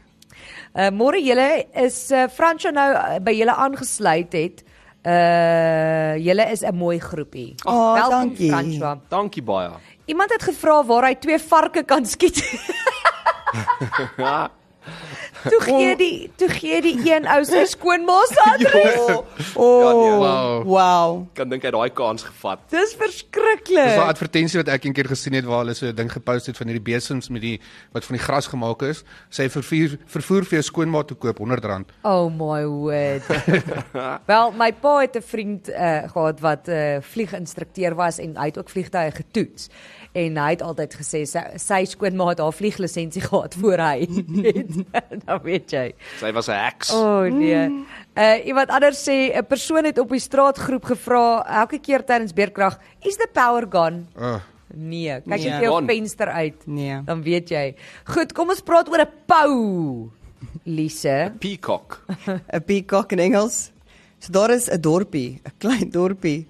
Uh môre julle is uh, Fransjo nou uh, by julle aangesluit het. Uh julle is 'n mooi groepie.
Oh,
Welkom,
dankie.
Fransjo.
Dankie baie.
Iemand het gevra waar hy twee varke kan skiet.
*laughs*
*laughs*
Ja.
toe gee die toe gee die een ou
*laughs*
sy skoonmaas aan.
Oh.
Wow.
Wow.
ja, nee. Kan dink hy het daai kans gevat.
Dis
Dis daai
verskriklik.
advertensie wat ek eendag gesien het waar hulle so 'n ding gepost het van hierdie besems met die wat van die gras gemaak is. Sê vervoer vervoer vir jou skoonma toe koop R100.
Oh my word. Wel, my pa het 'n vriend uh gehad wat 'n uh, vlieginstrukteur was en hy het ook vliegtye getoets. En hy het altyd gesê sy, sy skoonma het haar vlieglisensie *laughs* gehad voor hy het. *laughs* Dan weet jy.
Sy was 'n heks.
O oh, nee. Uh iemand anders sê 'n persoon het op die straatgroep gevra elke keer tydens beerkrag, "Is the power gone?"
Uh,
Ah.
Nee, kyk
Nee.
uit jou
Gone.
venster uit.
Nee.
Dan weet jy. Goed, kom ons praat oor 'n pou. Lise.
*laughs*
Peacock.
'n peacock in Engels. So daar is 'n dorpie, 'n klein dorpie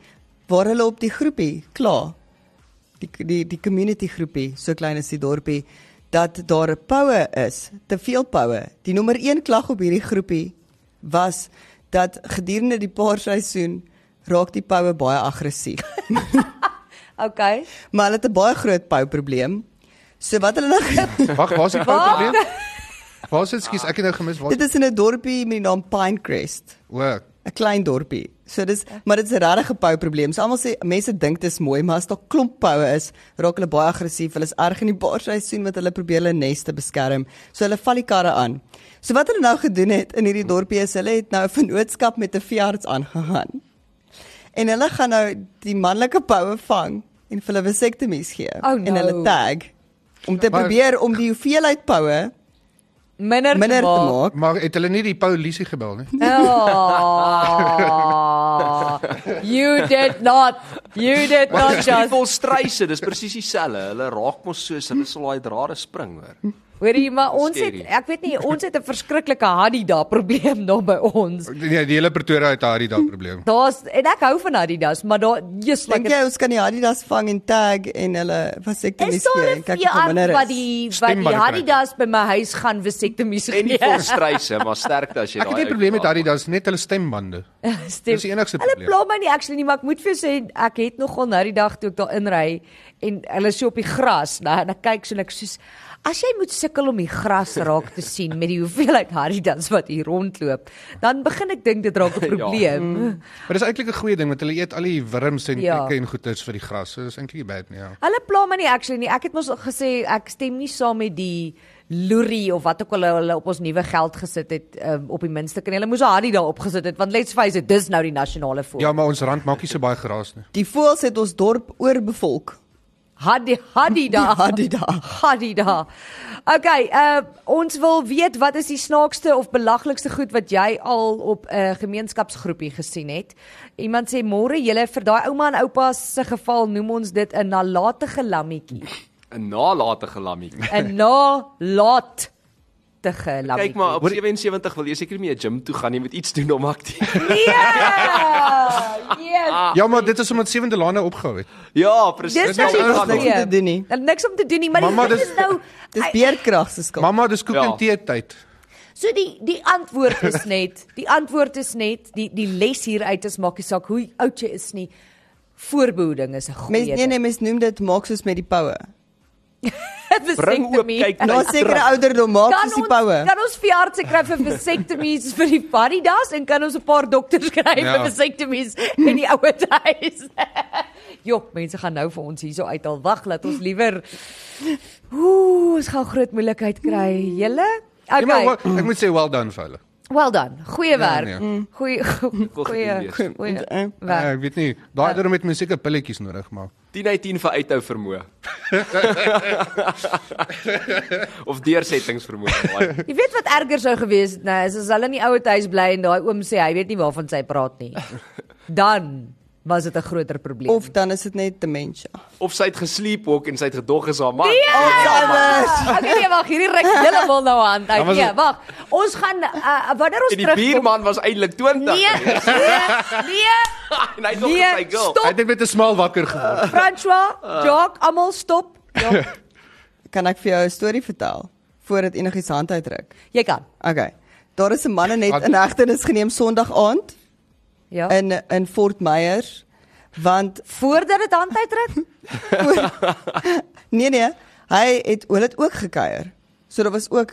waar hulle op die groepie klaar die die die community groepie, so klein is die dorpie dat daar 'n poue is, te veel poue. Die nommer 1 klag op hierdie groepie was dat gedurende die paarseisoen raak die poue baie aggressief. *laughs*
Okay.
maar hulle het 'n baie groot pou probleem. So wat hulle nou *laughs*
Wag, waar's die
Waar?
probleem? Waar's dit? Skus, ek het nou gemis. Waar?
Dit is in 'n dorpie met die naam Pinecrest.
O,
'n klein dorpie. So dis maar dit is 'n regte pou probleem. So almal sê mense dink dit is mooi, maar as daar klomp poue is, raak hulle baie aggressief. Hulle is erg in die baarseisoen wat hulle probeer hulle neste beskerm. So hulle val die karre aan. So wat hulle nou gedoen het in hierdie dorpie is hulle het nou 'n vennootskap met 'n veearts aangegaan. En hulle gaan nou die manlike poue vang en vir hulle vasektomies gee
Oh,
en
no.
hulle tag om te
Maar-
probeer om die hoeveelheid poue
Minder,
minder te maak.
maar het hulle nie die polisie gebel nie?
*laughs* Oh, you did not. You did
Ja,
Maar
not
dis nie
just.
volstryse, dis presies dieselfde. Hulle raak mos soos hulle sal daai drade spring
*laughs*
hoor.
Hoorie, maar ons het
Scary.
ek weet nie, ons het 'n verskriklike Hadida probleem daar by ons.
Nee, die hele Pretoria het daai daai probleem.
Daar's en ek hou van Adidas, maar daar jy's
Dink
like
jy ons kan die Adidas vang en tag en hulle vasektomies
Is daar
gee en
een
kyk hoe
veearts
minder
wat
is?
die wat
Stem maar
die
dit
Adidas by my huis gaan vasektomie se
En nie volstryse, maar sterkte as jy
Ja. Ek het nie 'n probleem met daai, dis net hulle stembande.
*laughs* Stem.
Dis die enigste
Hulle
probleem.
pla my nie actually nie, maar ek moet vir jou sê ek het nogal nou die dag toe ek daar inry en hulle is so op die gras, né, en ek kyk so en ek soos as jy moet sukkel om die gras *laughs* raak te sien met die hoeveelheid Adidas wat hier rondloop, dan begin ek dink dit
*laughs*
raak 'n
Ja.
probleem.
Maar dis eintlik 'n goeie ding want hulle eet al die wurms en
Ja.
klikke en goeters vir die gras. So dis eintlik nie bad nie. Ja.
*laughs* Hulle pla my nie actually nie. Ek het mos al gesê ek stem nie saam met die loerie of wat ook al hulle op ons nuwe geld gesit het um, op die minste kan hulle moes 'n Adidas daarop gesit het want let's face it dis nou die nasionale voel.
Ja, maar ons rand maak nie so baie gras nie.
Die voëls het ons dorp oorbevolk. Ja,
Hadi
*laughs*
Hadida.
Hadida.
Hadida. Okay, uh ons wil weet wat is die snaakste of belaglikste goed wat jy al op 'n uh, gemeenskapsgroepie gesien het? Iemand sê môre julle vir daai ouma en oupa se geval noem ons dit 'n
*laughs*
nalatige lammetjie.
'n nalatige lammie.
'n Nalat pragtige labbie.
Kyk maar op 77 wil jy seker nie meer gym toe gaan nie, jy moet iets doen om aktief. *laughs*
Nee! Ja! Yes.
Ah.
Ja, maar dit is omdat Sewende Lana opgehou het.
ja, presies.
Dis
Dis
nou
Ah,
nou
die
om
niks
te
probleem.
doen nie.
Daar niks om te doen nie, maar
Mamma,
dit
dis-
is nou
Dis beerkrag se skuld.
Mamma, dis koek
Ja.
en tee tyd.
So die die antwoord
*laughs*
is net, die antwoord is net, die die les hieruit is maak nie saak hoe oud jy is nie. Voorbehoeding is 'n
Mens
goeie
nee
*laughs*
nee, mens noem dit maak soos met die poue.
ding.
Bring oop,
Vasectomy.
kyk
Na
Hy
sekere
trap.
ouderdom maak
Kan
soos die
ons
poue.
kan ons verjaardag kry vir vasectomies vir die party daas en kan ons 'n paar dokters kry ja. vir
Ja.
vasectomies in die ouer huis. *laughs* jo, mense gaan nou vir ons hierso uithaal. Wag, laat ons liewer Ooh, ons gaan groot moeilikheid kry. Julle?
Ja,
Okay. Ja, Maar,
Okay.
wa- ek moet sê well done vir hulle.
Well done. Goeie werk.
nee.
Goeie goeie
gedoen wees.
goeie
Eh.
Uh,
werk.
ek weet nie,
Ja.
daai deur met my seker pilletjies nodig, maar
10 uit 10 vir uithou
*laughs*
vermoë. *laughs* of deursettingsvermoë. man.
Jy weet wat erger sou gewees het, nee, is as hulle in die ouer huis bly en daai oom sê hy weet nie waarvan sy praat nie. Dan was dit 'n groter probleem.
Of dan is dit net demensie.
Of sy het gesleepwalk en sy het gedog is haar man.
Alzheimer.
Okay, nee, wag, hierdie ruk heeltemal nou aan.
Dan was
Nee,
het-
wag. Ons gaan uh, wanneer ons
En die
terugkom.
bierman was eintlik 20.
Nee, nee, nee.
*laughs* en hy dog
Nee,
sy girl.
stop.
hy het net met 'n smal wakker
Oh
geword.
François, Jock, almal stop. Ja,
Kan ek vir jou 'n storie vertel voordat enigiets hand uitdruk?
jy kan.
Okay. Daar is 'n man net in hegtenis geneem Sondag aand
Ja. En,
in in Fort Myers want
Voordat dit hand uitdruk?
nee nee, hy het hulle het ook gekuier. So daar was ook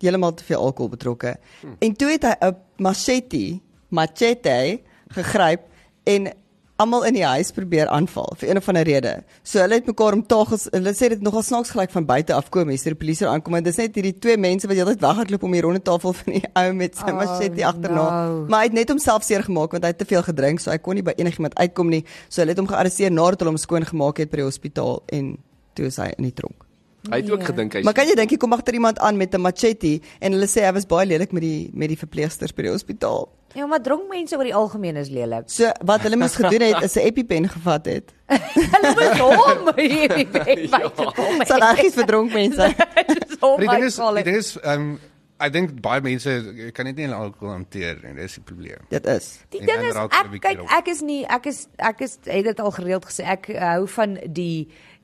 heeltemal te veel alkohol betrokke. Hmm. En toe het hy 'n machete, machete gegryp en almal in die huis probeer aanval vir een of ander rede. So hulle het mekaar omtagels, hulle sê dit nogal snaaks gelyk van buite af kom, hier die polisie aankom en dis net hierdie twee mense wat heeltyd weghardloop om die ronde tafel van die ou met sy
Oh,
oh, machete agterna.
no.
No. Maar hy het net homself seer gemaak want hy het te veel gedrink, so hy kon nie by enigiemand uitkom nie. So hulle het hom gearresteer nadat hulle hom skoon gemaak het by die hospitaal en toe is hy in die tronk.
Hy het ook
Nee.
gedink hy
Maar kan jy dink hy kom agter iemand aan met 'n machete en hulle sê hy was baie lelik met die met die verpleegsters by die hospitaal.
Ja, maar dronk mense oor die algemeen is lelik.
So wat hulle moes gedoen het is 'n EpiPen gevat het.
Hulle moet
*laughs*
*laughs* hom hierdie baie.
Sal regtig
*laughs*
vir dronk mense.
Dit is hom.
Maar die ding is, die ding is, um ek dink baie mense kan net nie alkohol hanteer nie, dis die probleem.
Dit is.
Die
En
ding
dan
is
raak
ek
jy een bietjie
kyk
op.
ek is nie ek is ek is het dit al gereeld gesê ek hou van die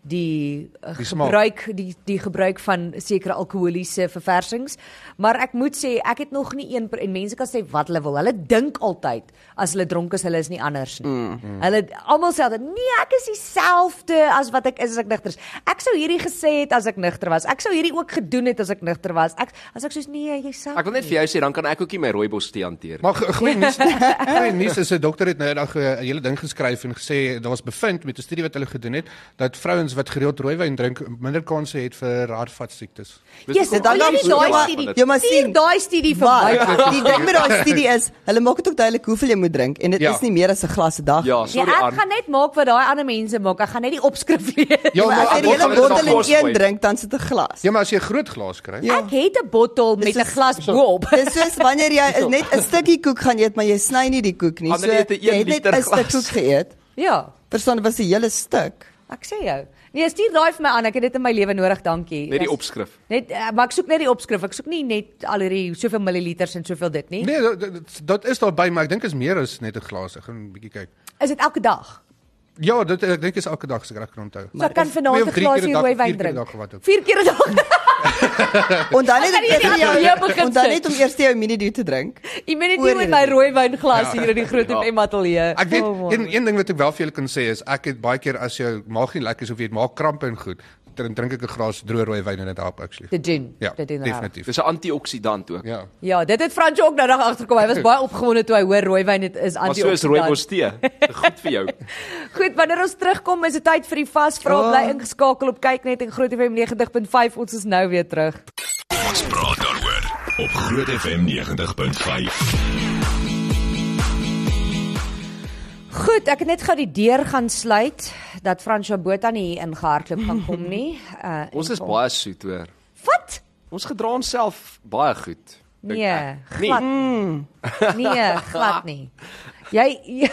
die, eh,
Die smaak.
gebruik die die gebruik van sekere alkoholiese verversings maar ek moet sê ek het nog nie een per- en mense kan sê wat hulle wil hulle dink altyd as hulle dronk is hulle is nie anders nie mm, mm. hulle almal sê dat nee ek is dieselfde as wat ek is as ek nigter is ek sou hierdie gesê het as ek nigter was ek sou hierdie ook gedoen het as ek nigter was ek as ek soos nee jyself
Ek wil net vir jou sê dan kan ek ook nie my rooibos tee hanteer.
Maar go- goeie
*laughs*
nuus, goeie nuus is 'n dokter het nou eendag 'n hele ding geskryf en gesê daar was bevind met 'n studie wat hulle gedoen het dat vrouens wat gereeld rooiwyn drink minder kanse het vir hartvat siektes.
Dis
Yes,
hoekom
dan dan
dan- dan-
almal
ja,
daai
so
maar-
studie.
van dit.
ja, maar
Stuur
sien.
daai studie vir my. Ja,
Maar die ding met daai studie is, hulle maak dit ook duidelik hoeveel jy moet drink en dit
Ja.
ja. is nie meer as 'n glas 'n dag.
Ja,
Ja,
sorry
ek
aan.
gaan net maak wat daai ander mense maak. Ek gaan net die opskrif lees.
Ja,
Ja, maar as jy die
bottel
hele
is al
bottel
glas.
in een
gooi.
drink, dan sit 'n glas.
Ja, maar as jy 'n groot glas kry.
Ja.
Ek het 'n bottel met
Dis
'n
is-
glas boop.
Dis soos wanneer jy net 'n stukkie koek gaan eet, maar jy sny nie die koek nie.
Ander eet 'n een
jy het net
liter
'n stuk
glas.
koek geëet.
*laughs* Ja,
Verstaan, dit was 'n hele stuk.
ek sê jou. Nee, stuur daai vir my aan. Ek het dit in my lewe nodig, dankie.
Net die
Dis-
opskrif.
Net eh, maar ek soek net die opskrif. Ek soek nie net al hierdie soveel milliliters en soveel dit nie.
Nee, dat- dat- dat is daar by, maar ek dink is meer as net 'n glas. Ek gaan 'n bietjie kyk.
Is dit elke dag?
Ja, dit ek dink is elke dag seker ek kan onthou.
So ek kan vanaand 'n glasie rooiwyn drink. 4 keer 'n dag. *laughs*
En dan net
Ek
om
kan nie
eers
die ateljee
jou
begin
en dan
sit.
net om eers jou immunity te drink.
Jy moet net
Oor
nie met my
hierdie.
rooiwyn glas hier in die groot
Ja.
FM ateljee.
Ek weet
Oh,
oh,
man.
een een ding wat ek wel vir julle kan sê is ek het baie keer as jou maag nie lekker is of jy het maagkrampe en goed, dan drink ek 'n glas droë rooiwyn en dit help actually.
te doen.
Ja,
dit doen raar.
definitief.
Dis 'n antioksidant ook.
Ja.
Ja, dit het Frans ook nou nog agterkom. Hy was baie opgewonde toe hy hoor rooiwyn dit is
Maar so is
anti-oksidant.
rooibos tee. Goed vir jou.
Goed, wanneer ons terugkom is dit tyd vir die vasvra.
Ja.
Bly ingeskakel op kyk net en Groot FM 90.5. Ons is nou weer terug.
Ons praat daaroor op Groot FM 90.5.
Goed, ek het net gou die deur gaan sluit dat Frans Jabota nie hier ingehardloop gaan kom
*laughs*
nie. Uh
Ons is
en-
baie soet hoor.
Wat?
Ons gedra onsself baie goed. dink
Nee,
ek.
glad
nee.
*laughs*
Nee, glad nie. Jy *laughs*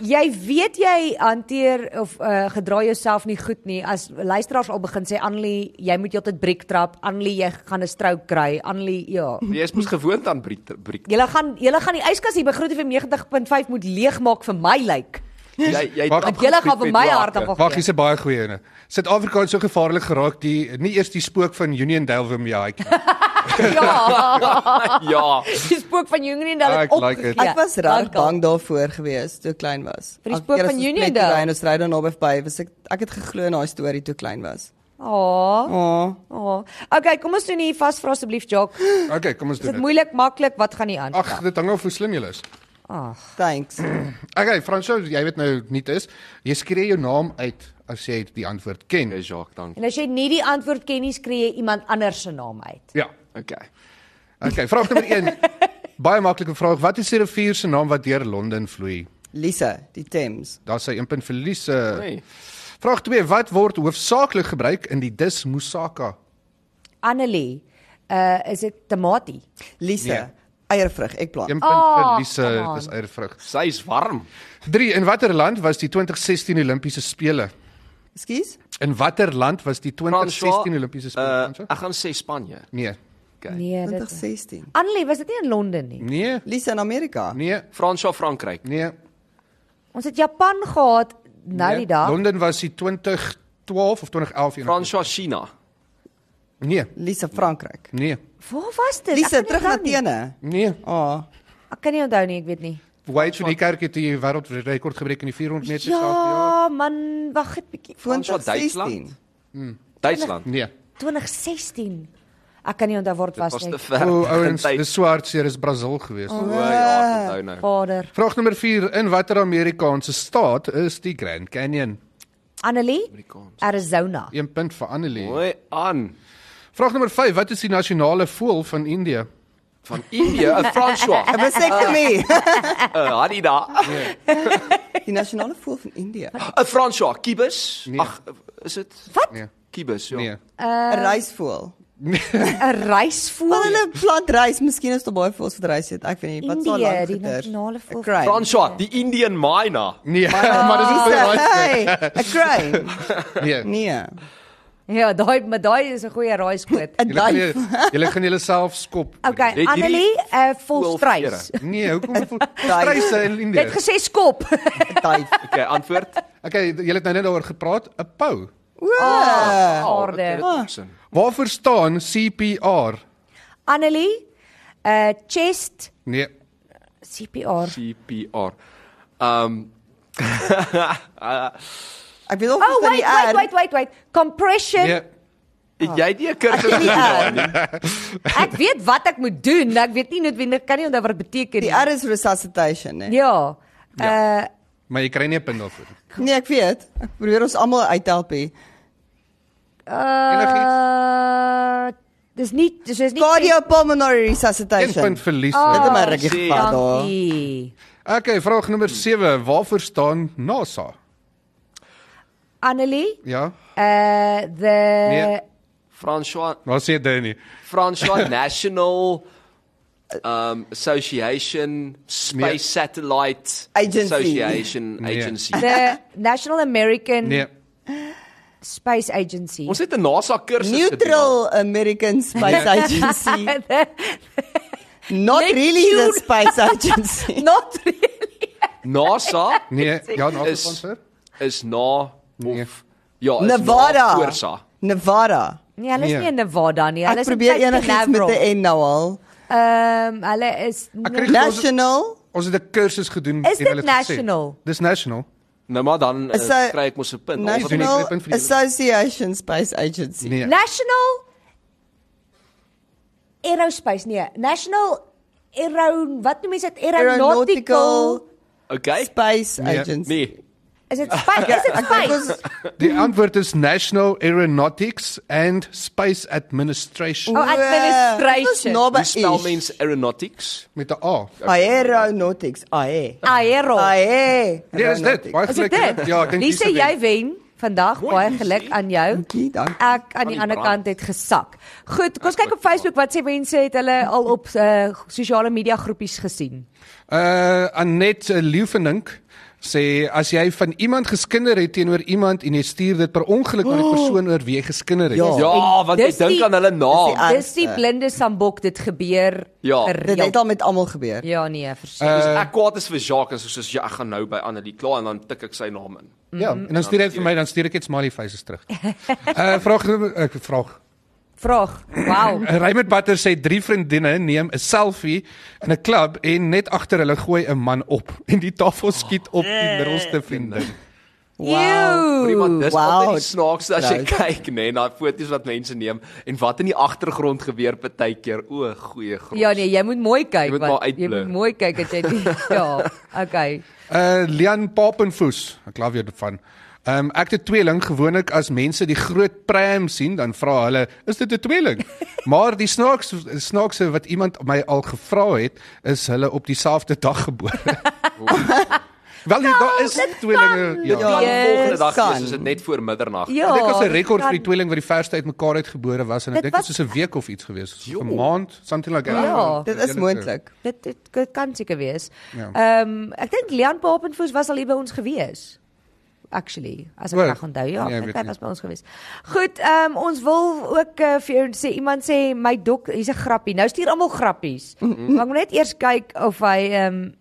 jy weet jy hanteer of uh, gedra jouself nie goed nie as luisteraars al begin sê Anlie, jy moet heeltyd briek trap. Anlie, jy gaan 'n strouk kry. Anlie, ja.
Jy is mos gewoond aan briek briek.
Julle gaan julle gaan die yskas hier by Groot FM 90.5 moet leegmaak vir my lyk.
*laughs*
Like.
Jy jy
Want
tap
julle gaan
goed
vir
met
my
lake.
hart op-
Wag, hier's 'n baie goeie een. Suid-Afrika het so gevaarlik geraak die nie eers die spook van Uniondale wil my haai.
*laughs* Ja,
*laughs*
*laughs*
Ja.
die spook van Uniondale het
Ek like it.
opgegee.
Ja,
Ek was reg
Dank al.
bang daarvoor gewees toe ek klein was.
Vir die
Elke
spook
keer as
van
ons
Union
plek toe
Dale.
ry En ons ry dan naby by, was ek ek het geglo in daai storie toe ek klein was.
Aa.
Ja.
Aa. Okay, kom ons doen hier vasvra asseblief, Jock.
Okay, kom ons
Is
doen
dit
dit.
moeilik, maklik? Wat gaan nie aan?
Ag, dit hang af hoe slim jy is.
Ag.
Thanks.
Okay, Fransou, jy weet nou nie is. Jy skree jou naam uit as jy die antwoord ken.
Okay, Nee, Jacques, dankie.
En as jy nie die antwoord ken nie, skree jy iemand anders se naam uit.
Ja.
Okay.
Okay, vraag nommer
*laughs*
1. Baie maklike vraag. Wat is die rivier se naam wat deur Londen vloei?
Lisa, die Thames.
Daar sy 1 punt verlies. Uh.
Hey.
Vraag 2. Wat word hoofsaaklik gebruik in die dis moussaka?
Annelie, uh is dit tamatie?
Lisa,
Nee. Ja.
eiervrug, ekplant.
1 punt
Ah,
verlies. eh,
come on.
Dis eiervrug.
Sy's warm.
3. In watter land was die 2016 Olimpiese spele?
Ekskuus?
Ja,
In watter land was die 2016 Olimpiese spele?
Uh,
Uh,
ek gaan sê Spanje.
nee.
Okay.
Nee, dit.
2016.
Annelie, was dit nie in Londen nie?
Nee.
Lisa in Amerika.
Nee.
Fransja Frankryk.
Nee.
Ons het Japan gehad nou
nee.
die dag.
Londen was die 2012 of 2011 een-
Fransja China.
Nee.
Lisa Frankryk.
Nee.
Waar was dit?
Lisa
Ek kan nie
terug na
onthou nie.
Athene.
Nee.
Ah,
Ek kan nie onthou nie, ek weet nie.
Wait vir die kerk het die wêreldrekord gebreek in die 400 meter
Ja,
self.
man, wag net bietjie.
Frans van
2016.
Duitsland.
Nee.
2016. Oh, Ek kan nie onthou waar dit
Dit was
was
te
nie.
ver. *laughs*
O, ouens,
Ja, Tyd.
dis swart seer is Brasil gewees.
Oh.
O, ja, onthou nou.
Vader.
Vraag nommer 4: In watter Amerikaanse staat is die Grand Canyon?
Annelie,
Amerikaans.
Arizona. *laughs*
1 punt vir Annelie.
Mooi aan.
Vraag nommer 5: Wat is die nasionale voël van Indië?
Van Indië, Eh, 'n
*laughs*
Franswa,
Vasectomy. *laughs*
'n Hadida,
Nee.
Die nasionale voël van Indië.
'n Franswa, kibus.
Nee.
Ag, is dit
Wat?
Nee.
kibus? Ja.
Nee.
'n Reisvoël.
'n
Ehm, Wel
Reisvoël.
hulle plant rys, miskien is daar baie voëls wat rys eet. Ek weet nie, wat sal
Indië,
lank
die
geter.
nasionale voël.
Franswa, die Indian Myna.
Nee, *laughs* maar dis nie baie.
Hey, 'n crane.
Nee.
Nee.
Ja, daai maar daai is 'n goeie
*laughs*
raaiskoot.
'n
Julle gaan julle-
duif.
julle gaan jouself skop.
Okay,
hierdie
Annelie, uh, volstruis.
voelvere.
Nee,
*laughs*
hoekom voel stryse in
Jy het
Indië?
gesê skop.
'n Duif.
Okay, antwoord.
Okay, julle het nou net daaroor gepraat, 'n pou.
O,
Oh,
Aarde.
Aarde.
Waarvoor staan CPR?
Annelie, uh chest
Nee.
CPR.
CPR. Um
Ek weet of
Oh,
dit aan
wait,
die
wait,
R.
wait, wait, wait. Compression.
Nee.
het jy nie 'n
*laughs*
kursus
Ken die
*laughs*
gedoen
Ja.
nie?
R.
Ek weet wat ek moet doen. Ek weet nie noodwendig kan nie onthou wat dit beteken
Die
nie.
R is resuscitation, nee.
Ja. Uh
Maar jy kry nie 'n punt daarvoor.
Nee, ek weet. Ek probeer ons almal uithelp hier.
uh eh, dis nie dis is nie
Cardiopulmonary
1
resuscitation.
punt verlies.
Dit
Ah.
het my regtig
Shit.
gevat daar.
Dankie.
Okay, vraag nommer 7. Waarvoor staan NASA?
Annelie,
Ja.
uh the
Nee.
Franswa,
Wat sê jy nie?
Franswa
*laughs*
National um Association Space
Nee.
Satellite
Agency.
Association
Nee.
Agency.
the National American
Nee.
Space Agency. *laughs*
Ons het 'n NASA kursus gedoen.
Neutral American Space Agency. Not
Neptune.
really the Space
*laughs*
Agency.
Not really.
*laughs*
NASA
Nee, ja, NASA
Is-
sponsor.
is na
Nee.
of ja, is
Nevada.
na Forsa.
Nevada.
Nee, hulle is
Nee.
nie in Nevada nie. Ja, Hulle
Ek
is in
probeer enigiets met
Canaveral.
'n N nou al.
Ehm um, hulle is
Ek kry
National
Ons het 'n kursus gedoen
Is
en hulle
dit
het gesê-
national?
Dis national.
Nou maar dan
Is hy-
uh, kry ek mos 'n punt.
Nice. doen nie,
National
ek punt vir die-
Association Space Agency.
Nee.
National Aerospace nee, National Aero wat noem mense dit aeronautical
Aeronautical
Okay.
Space
Nee.
Agency.
Nee.
is dit space is dit
Ek dink
space?
ons
Die antwoord is National Aeronautics and Space Administration
Oh, administration.
Dit was
Hoe spel
naby.
mens aeronautics?
met 'n A. Nee,
Aeronautics. AE.
Aero.
AE.
Nee, dis dit. Baie
Is dit
geluk.
dit?
Ja, ek dink
Lise,
dis
jy
dit.
wen vandag.
Mooi,
Baie
Lise.
geluk aan jou.
Dankie, dankie.
Ek aan
die
die ander
brand.
kant het gesak. Goed, kom ons kyk op Facebook wat sê mense het hulle al eh, op uh, sosiale media groepies gesien.
Uh Annette Leufenink Eh, sê as jy van iemand geskinder het teenoor iemand en jy stuur dit per ongeluk aan
Oh.
die persoon oor wie jy geskinder het.
Ja.
Ja,
En
want ek
dis
dink
die-
aan hulle naam.
dis
Dis die blinde sambok dit gebeur.
Ja. Eh.
gereeld.
Dit het al met almal gebeur.
Ja nee, verseker.
Dis ek kwaad is vir Jacques en so soos ja, ek gaan nou by Annelie klaar en dan tik ek sy naam in.
Ja, en dan stuur hy vir my dan stuur ek net smiley faces terug. Uh vraag nummer- ek vraag.
Vraag. Wow.
Raymond Butter sê drie vriendinne neem 'n selfie in 'n klub en net agter hulle gooi 'n man op en die tafel skiet op die middelste vriendin.
Maar iemand dis wow. altyd die
wow.
snaakste as jy
Trouwens.
kyk, nê, nee, daai foto's wat mense neem en wat in die agtergrond gebeur partykeer. O, goeie grond.
Ja nee, jy moet mooi kyk
Jy moet maar
jy
uitblur.
moet mooi kyk dat jy
*laughs*
die, *laughs* ja, okay.
Uh Lian Papenfoes, ek glo weer van. Ehm um, ek het 'n tweeling gewoonlik as mense die groot pram sien dan vra hulle is dit 'n
*laughs*
tweeling? maar die snaaks snaakse wat iemand my al gevra het is hulle op dieselfde dag
*laughs*
gebore. Wel nee,
Nou,
daar is tweelinge.
Ja, dan die volgende dag
kan.
is soos dit net voor middernag.
Ja.
Ek dink as 'n rekord
kan-
vir die tweeling wat die verste uitmekaar uitgebore was en ek
Dit
dink dit
was-
is 'n week of iets gewees, so
Jo.
'n maand, something like that.
Ja.
Dit is moontlik.
Dit dit, dit kan seker wees.
Ja.
Ehm ek dink Leon Papenfoes was al hier by ons gewees. Actually, as ek
Wel,
reg onthou, ja,
nee, ek
ek
weet
dink hy
nie.
was by ons gewees. Goed, ehm ons wil ook uh, vir jou sê iemand sê my dok, hier's 'n grappie. Nou stuur almal grappies. Mm -hmm. Maar ek moet net eers kyk of hy ehm um,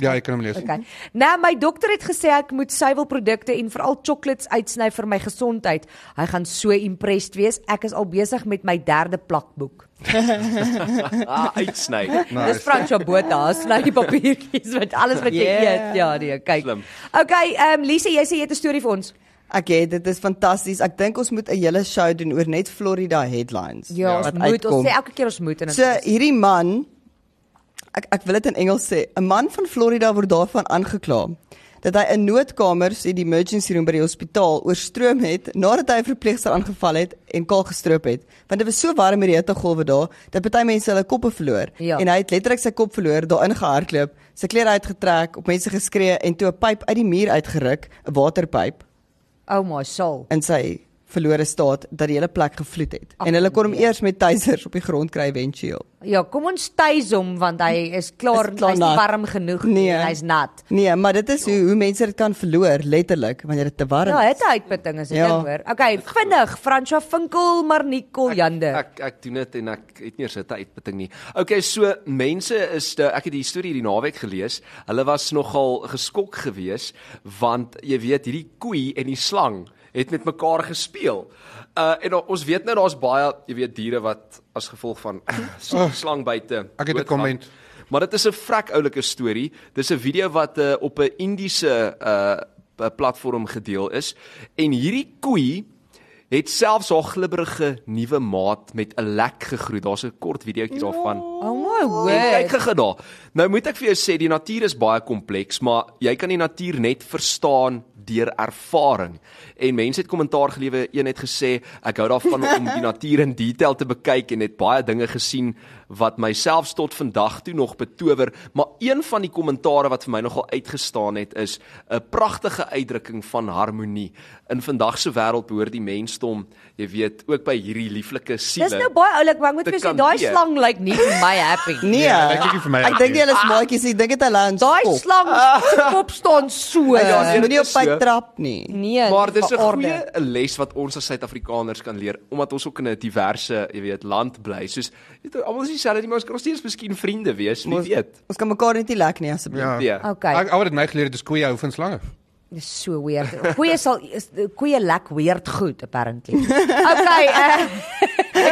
Ja, ek kan hom lees.
Mhm.
Okay.
Okay. Nou my dokter het gesê ek moet suiwelprodukte en veral chocolates uitsny vir my gesondheid. Hy gaan so impressed wees. Ek is al besig met my derde plakboek.
Ah, uitsny.
Nice.
Dis Franco Botha, sny die papiertjies met alles wat jy
Yeah.
eet. Ja, nee, kyk.
Slim.
Okay, ehm um, Lise, jy sê jy het 'n storie vir ons.
Ek het dit is fantasties. Ek dink ons moet 'n hele show doen oor net Florida headlines.
Ja, ons
wat
moet
uitkom.
ons sê elke keer ons moet en
So
dan
hierdie man ek ek wil dit in Engels sê. 'n Man van Florida word daarvan aangekla dat hy 'n noodkamer, sê die emergency room by die hospitaal, oorstroom het nadat hy 'n verpleegster aangeval het en kaal gestroop het. Want dit was so warm met die hittegolwe daar dat baie mense hulle koppe verloor
Ja.
en hy het letterlik sy kop verloor, daarin gehardloop, sy klere uitgetrek, op mense geskree en toe 'n pyp uit die muur uitgeruk, 'n waterpyp
Oh my soul.
in sy verlore staat dat die hele plek gevloed het.
Ag,
en hulle kon hom
nee.
eers met tasers op die grond kry eventueel.
Ja, kom ons tuis hom want hy is klaar,
Is klaar
hy's nie
nat.
warm genoeg nie,
Nee.
en hy's nat.
Nee, maar dit is hoe, hoe mense dit kan verloor letterlik wanneer dit te warm
Ja,
is.
het 'n uitputting as jy
Ja.
ding hoor. Okay, vinnig, Franco Vinkel, Marnie Koljander.
Ek ek doen dit en ek het nie eens 'n tydbeding nie. Okay, so mense is de, ek het die storie hierdie naweek gelees. Hulle was nogal geskok geweest want jy weet hierdie koei en die slang het met mekaar gespeel. Uh en o- ons weet nou daar's baie, jy weet diere wat as gevolg van *clears throat*
Oh,
slangbyte.
ek het 'n
doodgaan.
comment.
Maar dit is 'n vrek oulike storie. Dis 'n video wat uh, op 'n Indiese uh p- platform gedeel is en hierdie koei het selfs haar glibberige nuwe maat met 'n lek gegroet. Daar's 'n kort videoetjie daarvan.
Oh my
En kyk
word.
gega daar. Nou moet ek vir jou sê die natuur is baie kompleks, maar jy kan die natuur net verstaan deur ervaring. En mense het kommentaar gelewe, een het gesê, ek hou daarvan om die natuur in detail te bekyk en het baie dinge gesien wat myself tot vandag toe nog betower, maar een van die kommentare wat vir my nogal uitgestaan het is 'n pragtige uitdrukking van harmonie. In vandag se wêreld behoort die mensdom, jy weet, ook by hierdie lieflike siele.
Dis nou baie oulik, maar ek moet
Dit
vir jou sê
kan
daai
weer.
slang lyk nie vir my
*laughs*
happy.
Nee,
Ja, dit lyk nie vir my
ek
uit
dink
nie.
nie hulle is maatjies, nie. ek dink dit hulle aan
Daai
kop.
*laughs*
slang se kop staan so.
Hy
Ja, nee,
ja,
dit
moenie op
is
by
so.
trap nie.
Nee,
Maar dis
vir
'n goeie
orde.
les wat ons as Suid-Afrikaners kan leer omdat ons ook in 'n diverse, jy weet, land bly. Soos jy weet, almal is dieselfde, nie, maar ons kan nog steeds miskien vriende wees, wie weet.
Ons kan mekaar net nie lek nie asseblief.
Ja.
Ja.
Okay.
Ek ouer het my geleer dis koeie hou van slange.
Dis so weird. Koeie sal is- koeie lek weird goed
*laughs*
apparently. Okay. *laughs* Uh,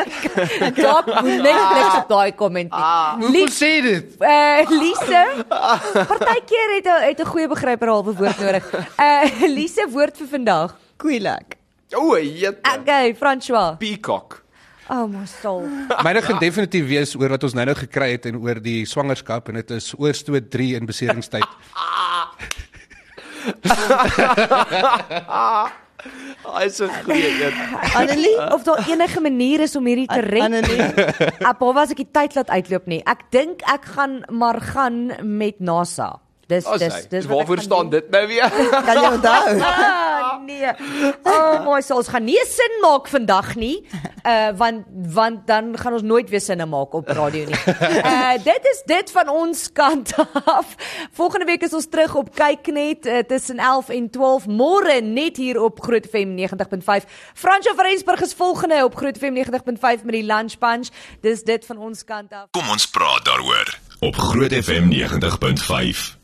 Dop Netflix op daai komment.
Ah.
Hoe sê dit?
Eh Lise, partykeer het 'n het 'n goeie begryper al bewoord nodig. Eh *laughs* Lise woord vir vandag.
Koei lek.
O, jette.
Okay, François.
Peacock.
Oh my soul.
*laughs* Myne gaan definitief wees oor wat ons nou-nou gekry het en oor die swangerskap en dit is oorstoot 3 in beseringstyd.
Hy is Ah, 'n
*laughs*
goeie een.
Annelie,
Of daar enige manier is om hierdie te red.
Annelie,
*laughs* Appa was ek die tyd laat uitloop nie. Ek dink ek gaan maar gaan met NASA. Dis
As
dis
hy.
dis
Dis waarvoor staan dit nou weer?
kan
*laughs*
*laughs* jy onthou?
Ah, nee. Oh, my sou ons gaan nie sin maak vandag nie. Uh want want dan gaan ons nooit weer sinne maak op radio nie. Uh dit is dit van ons kant af. Volgende week is ons terug op kyk net uh, tussen 11 en 12 môre net hier op Groot FM 90.5. Fransjo Verensburg is volgende op Groot FM 90.5 met die Lunch Punch. Dis dit van ons kant af.
Kom ons praat daaroor op Groot FM 90.5.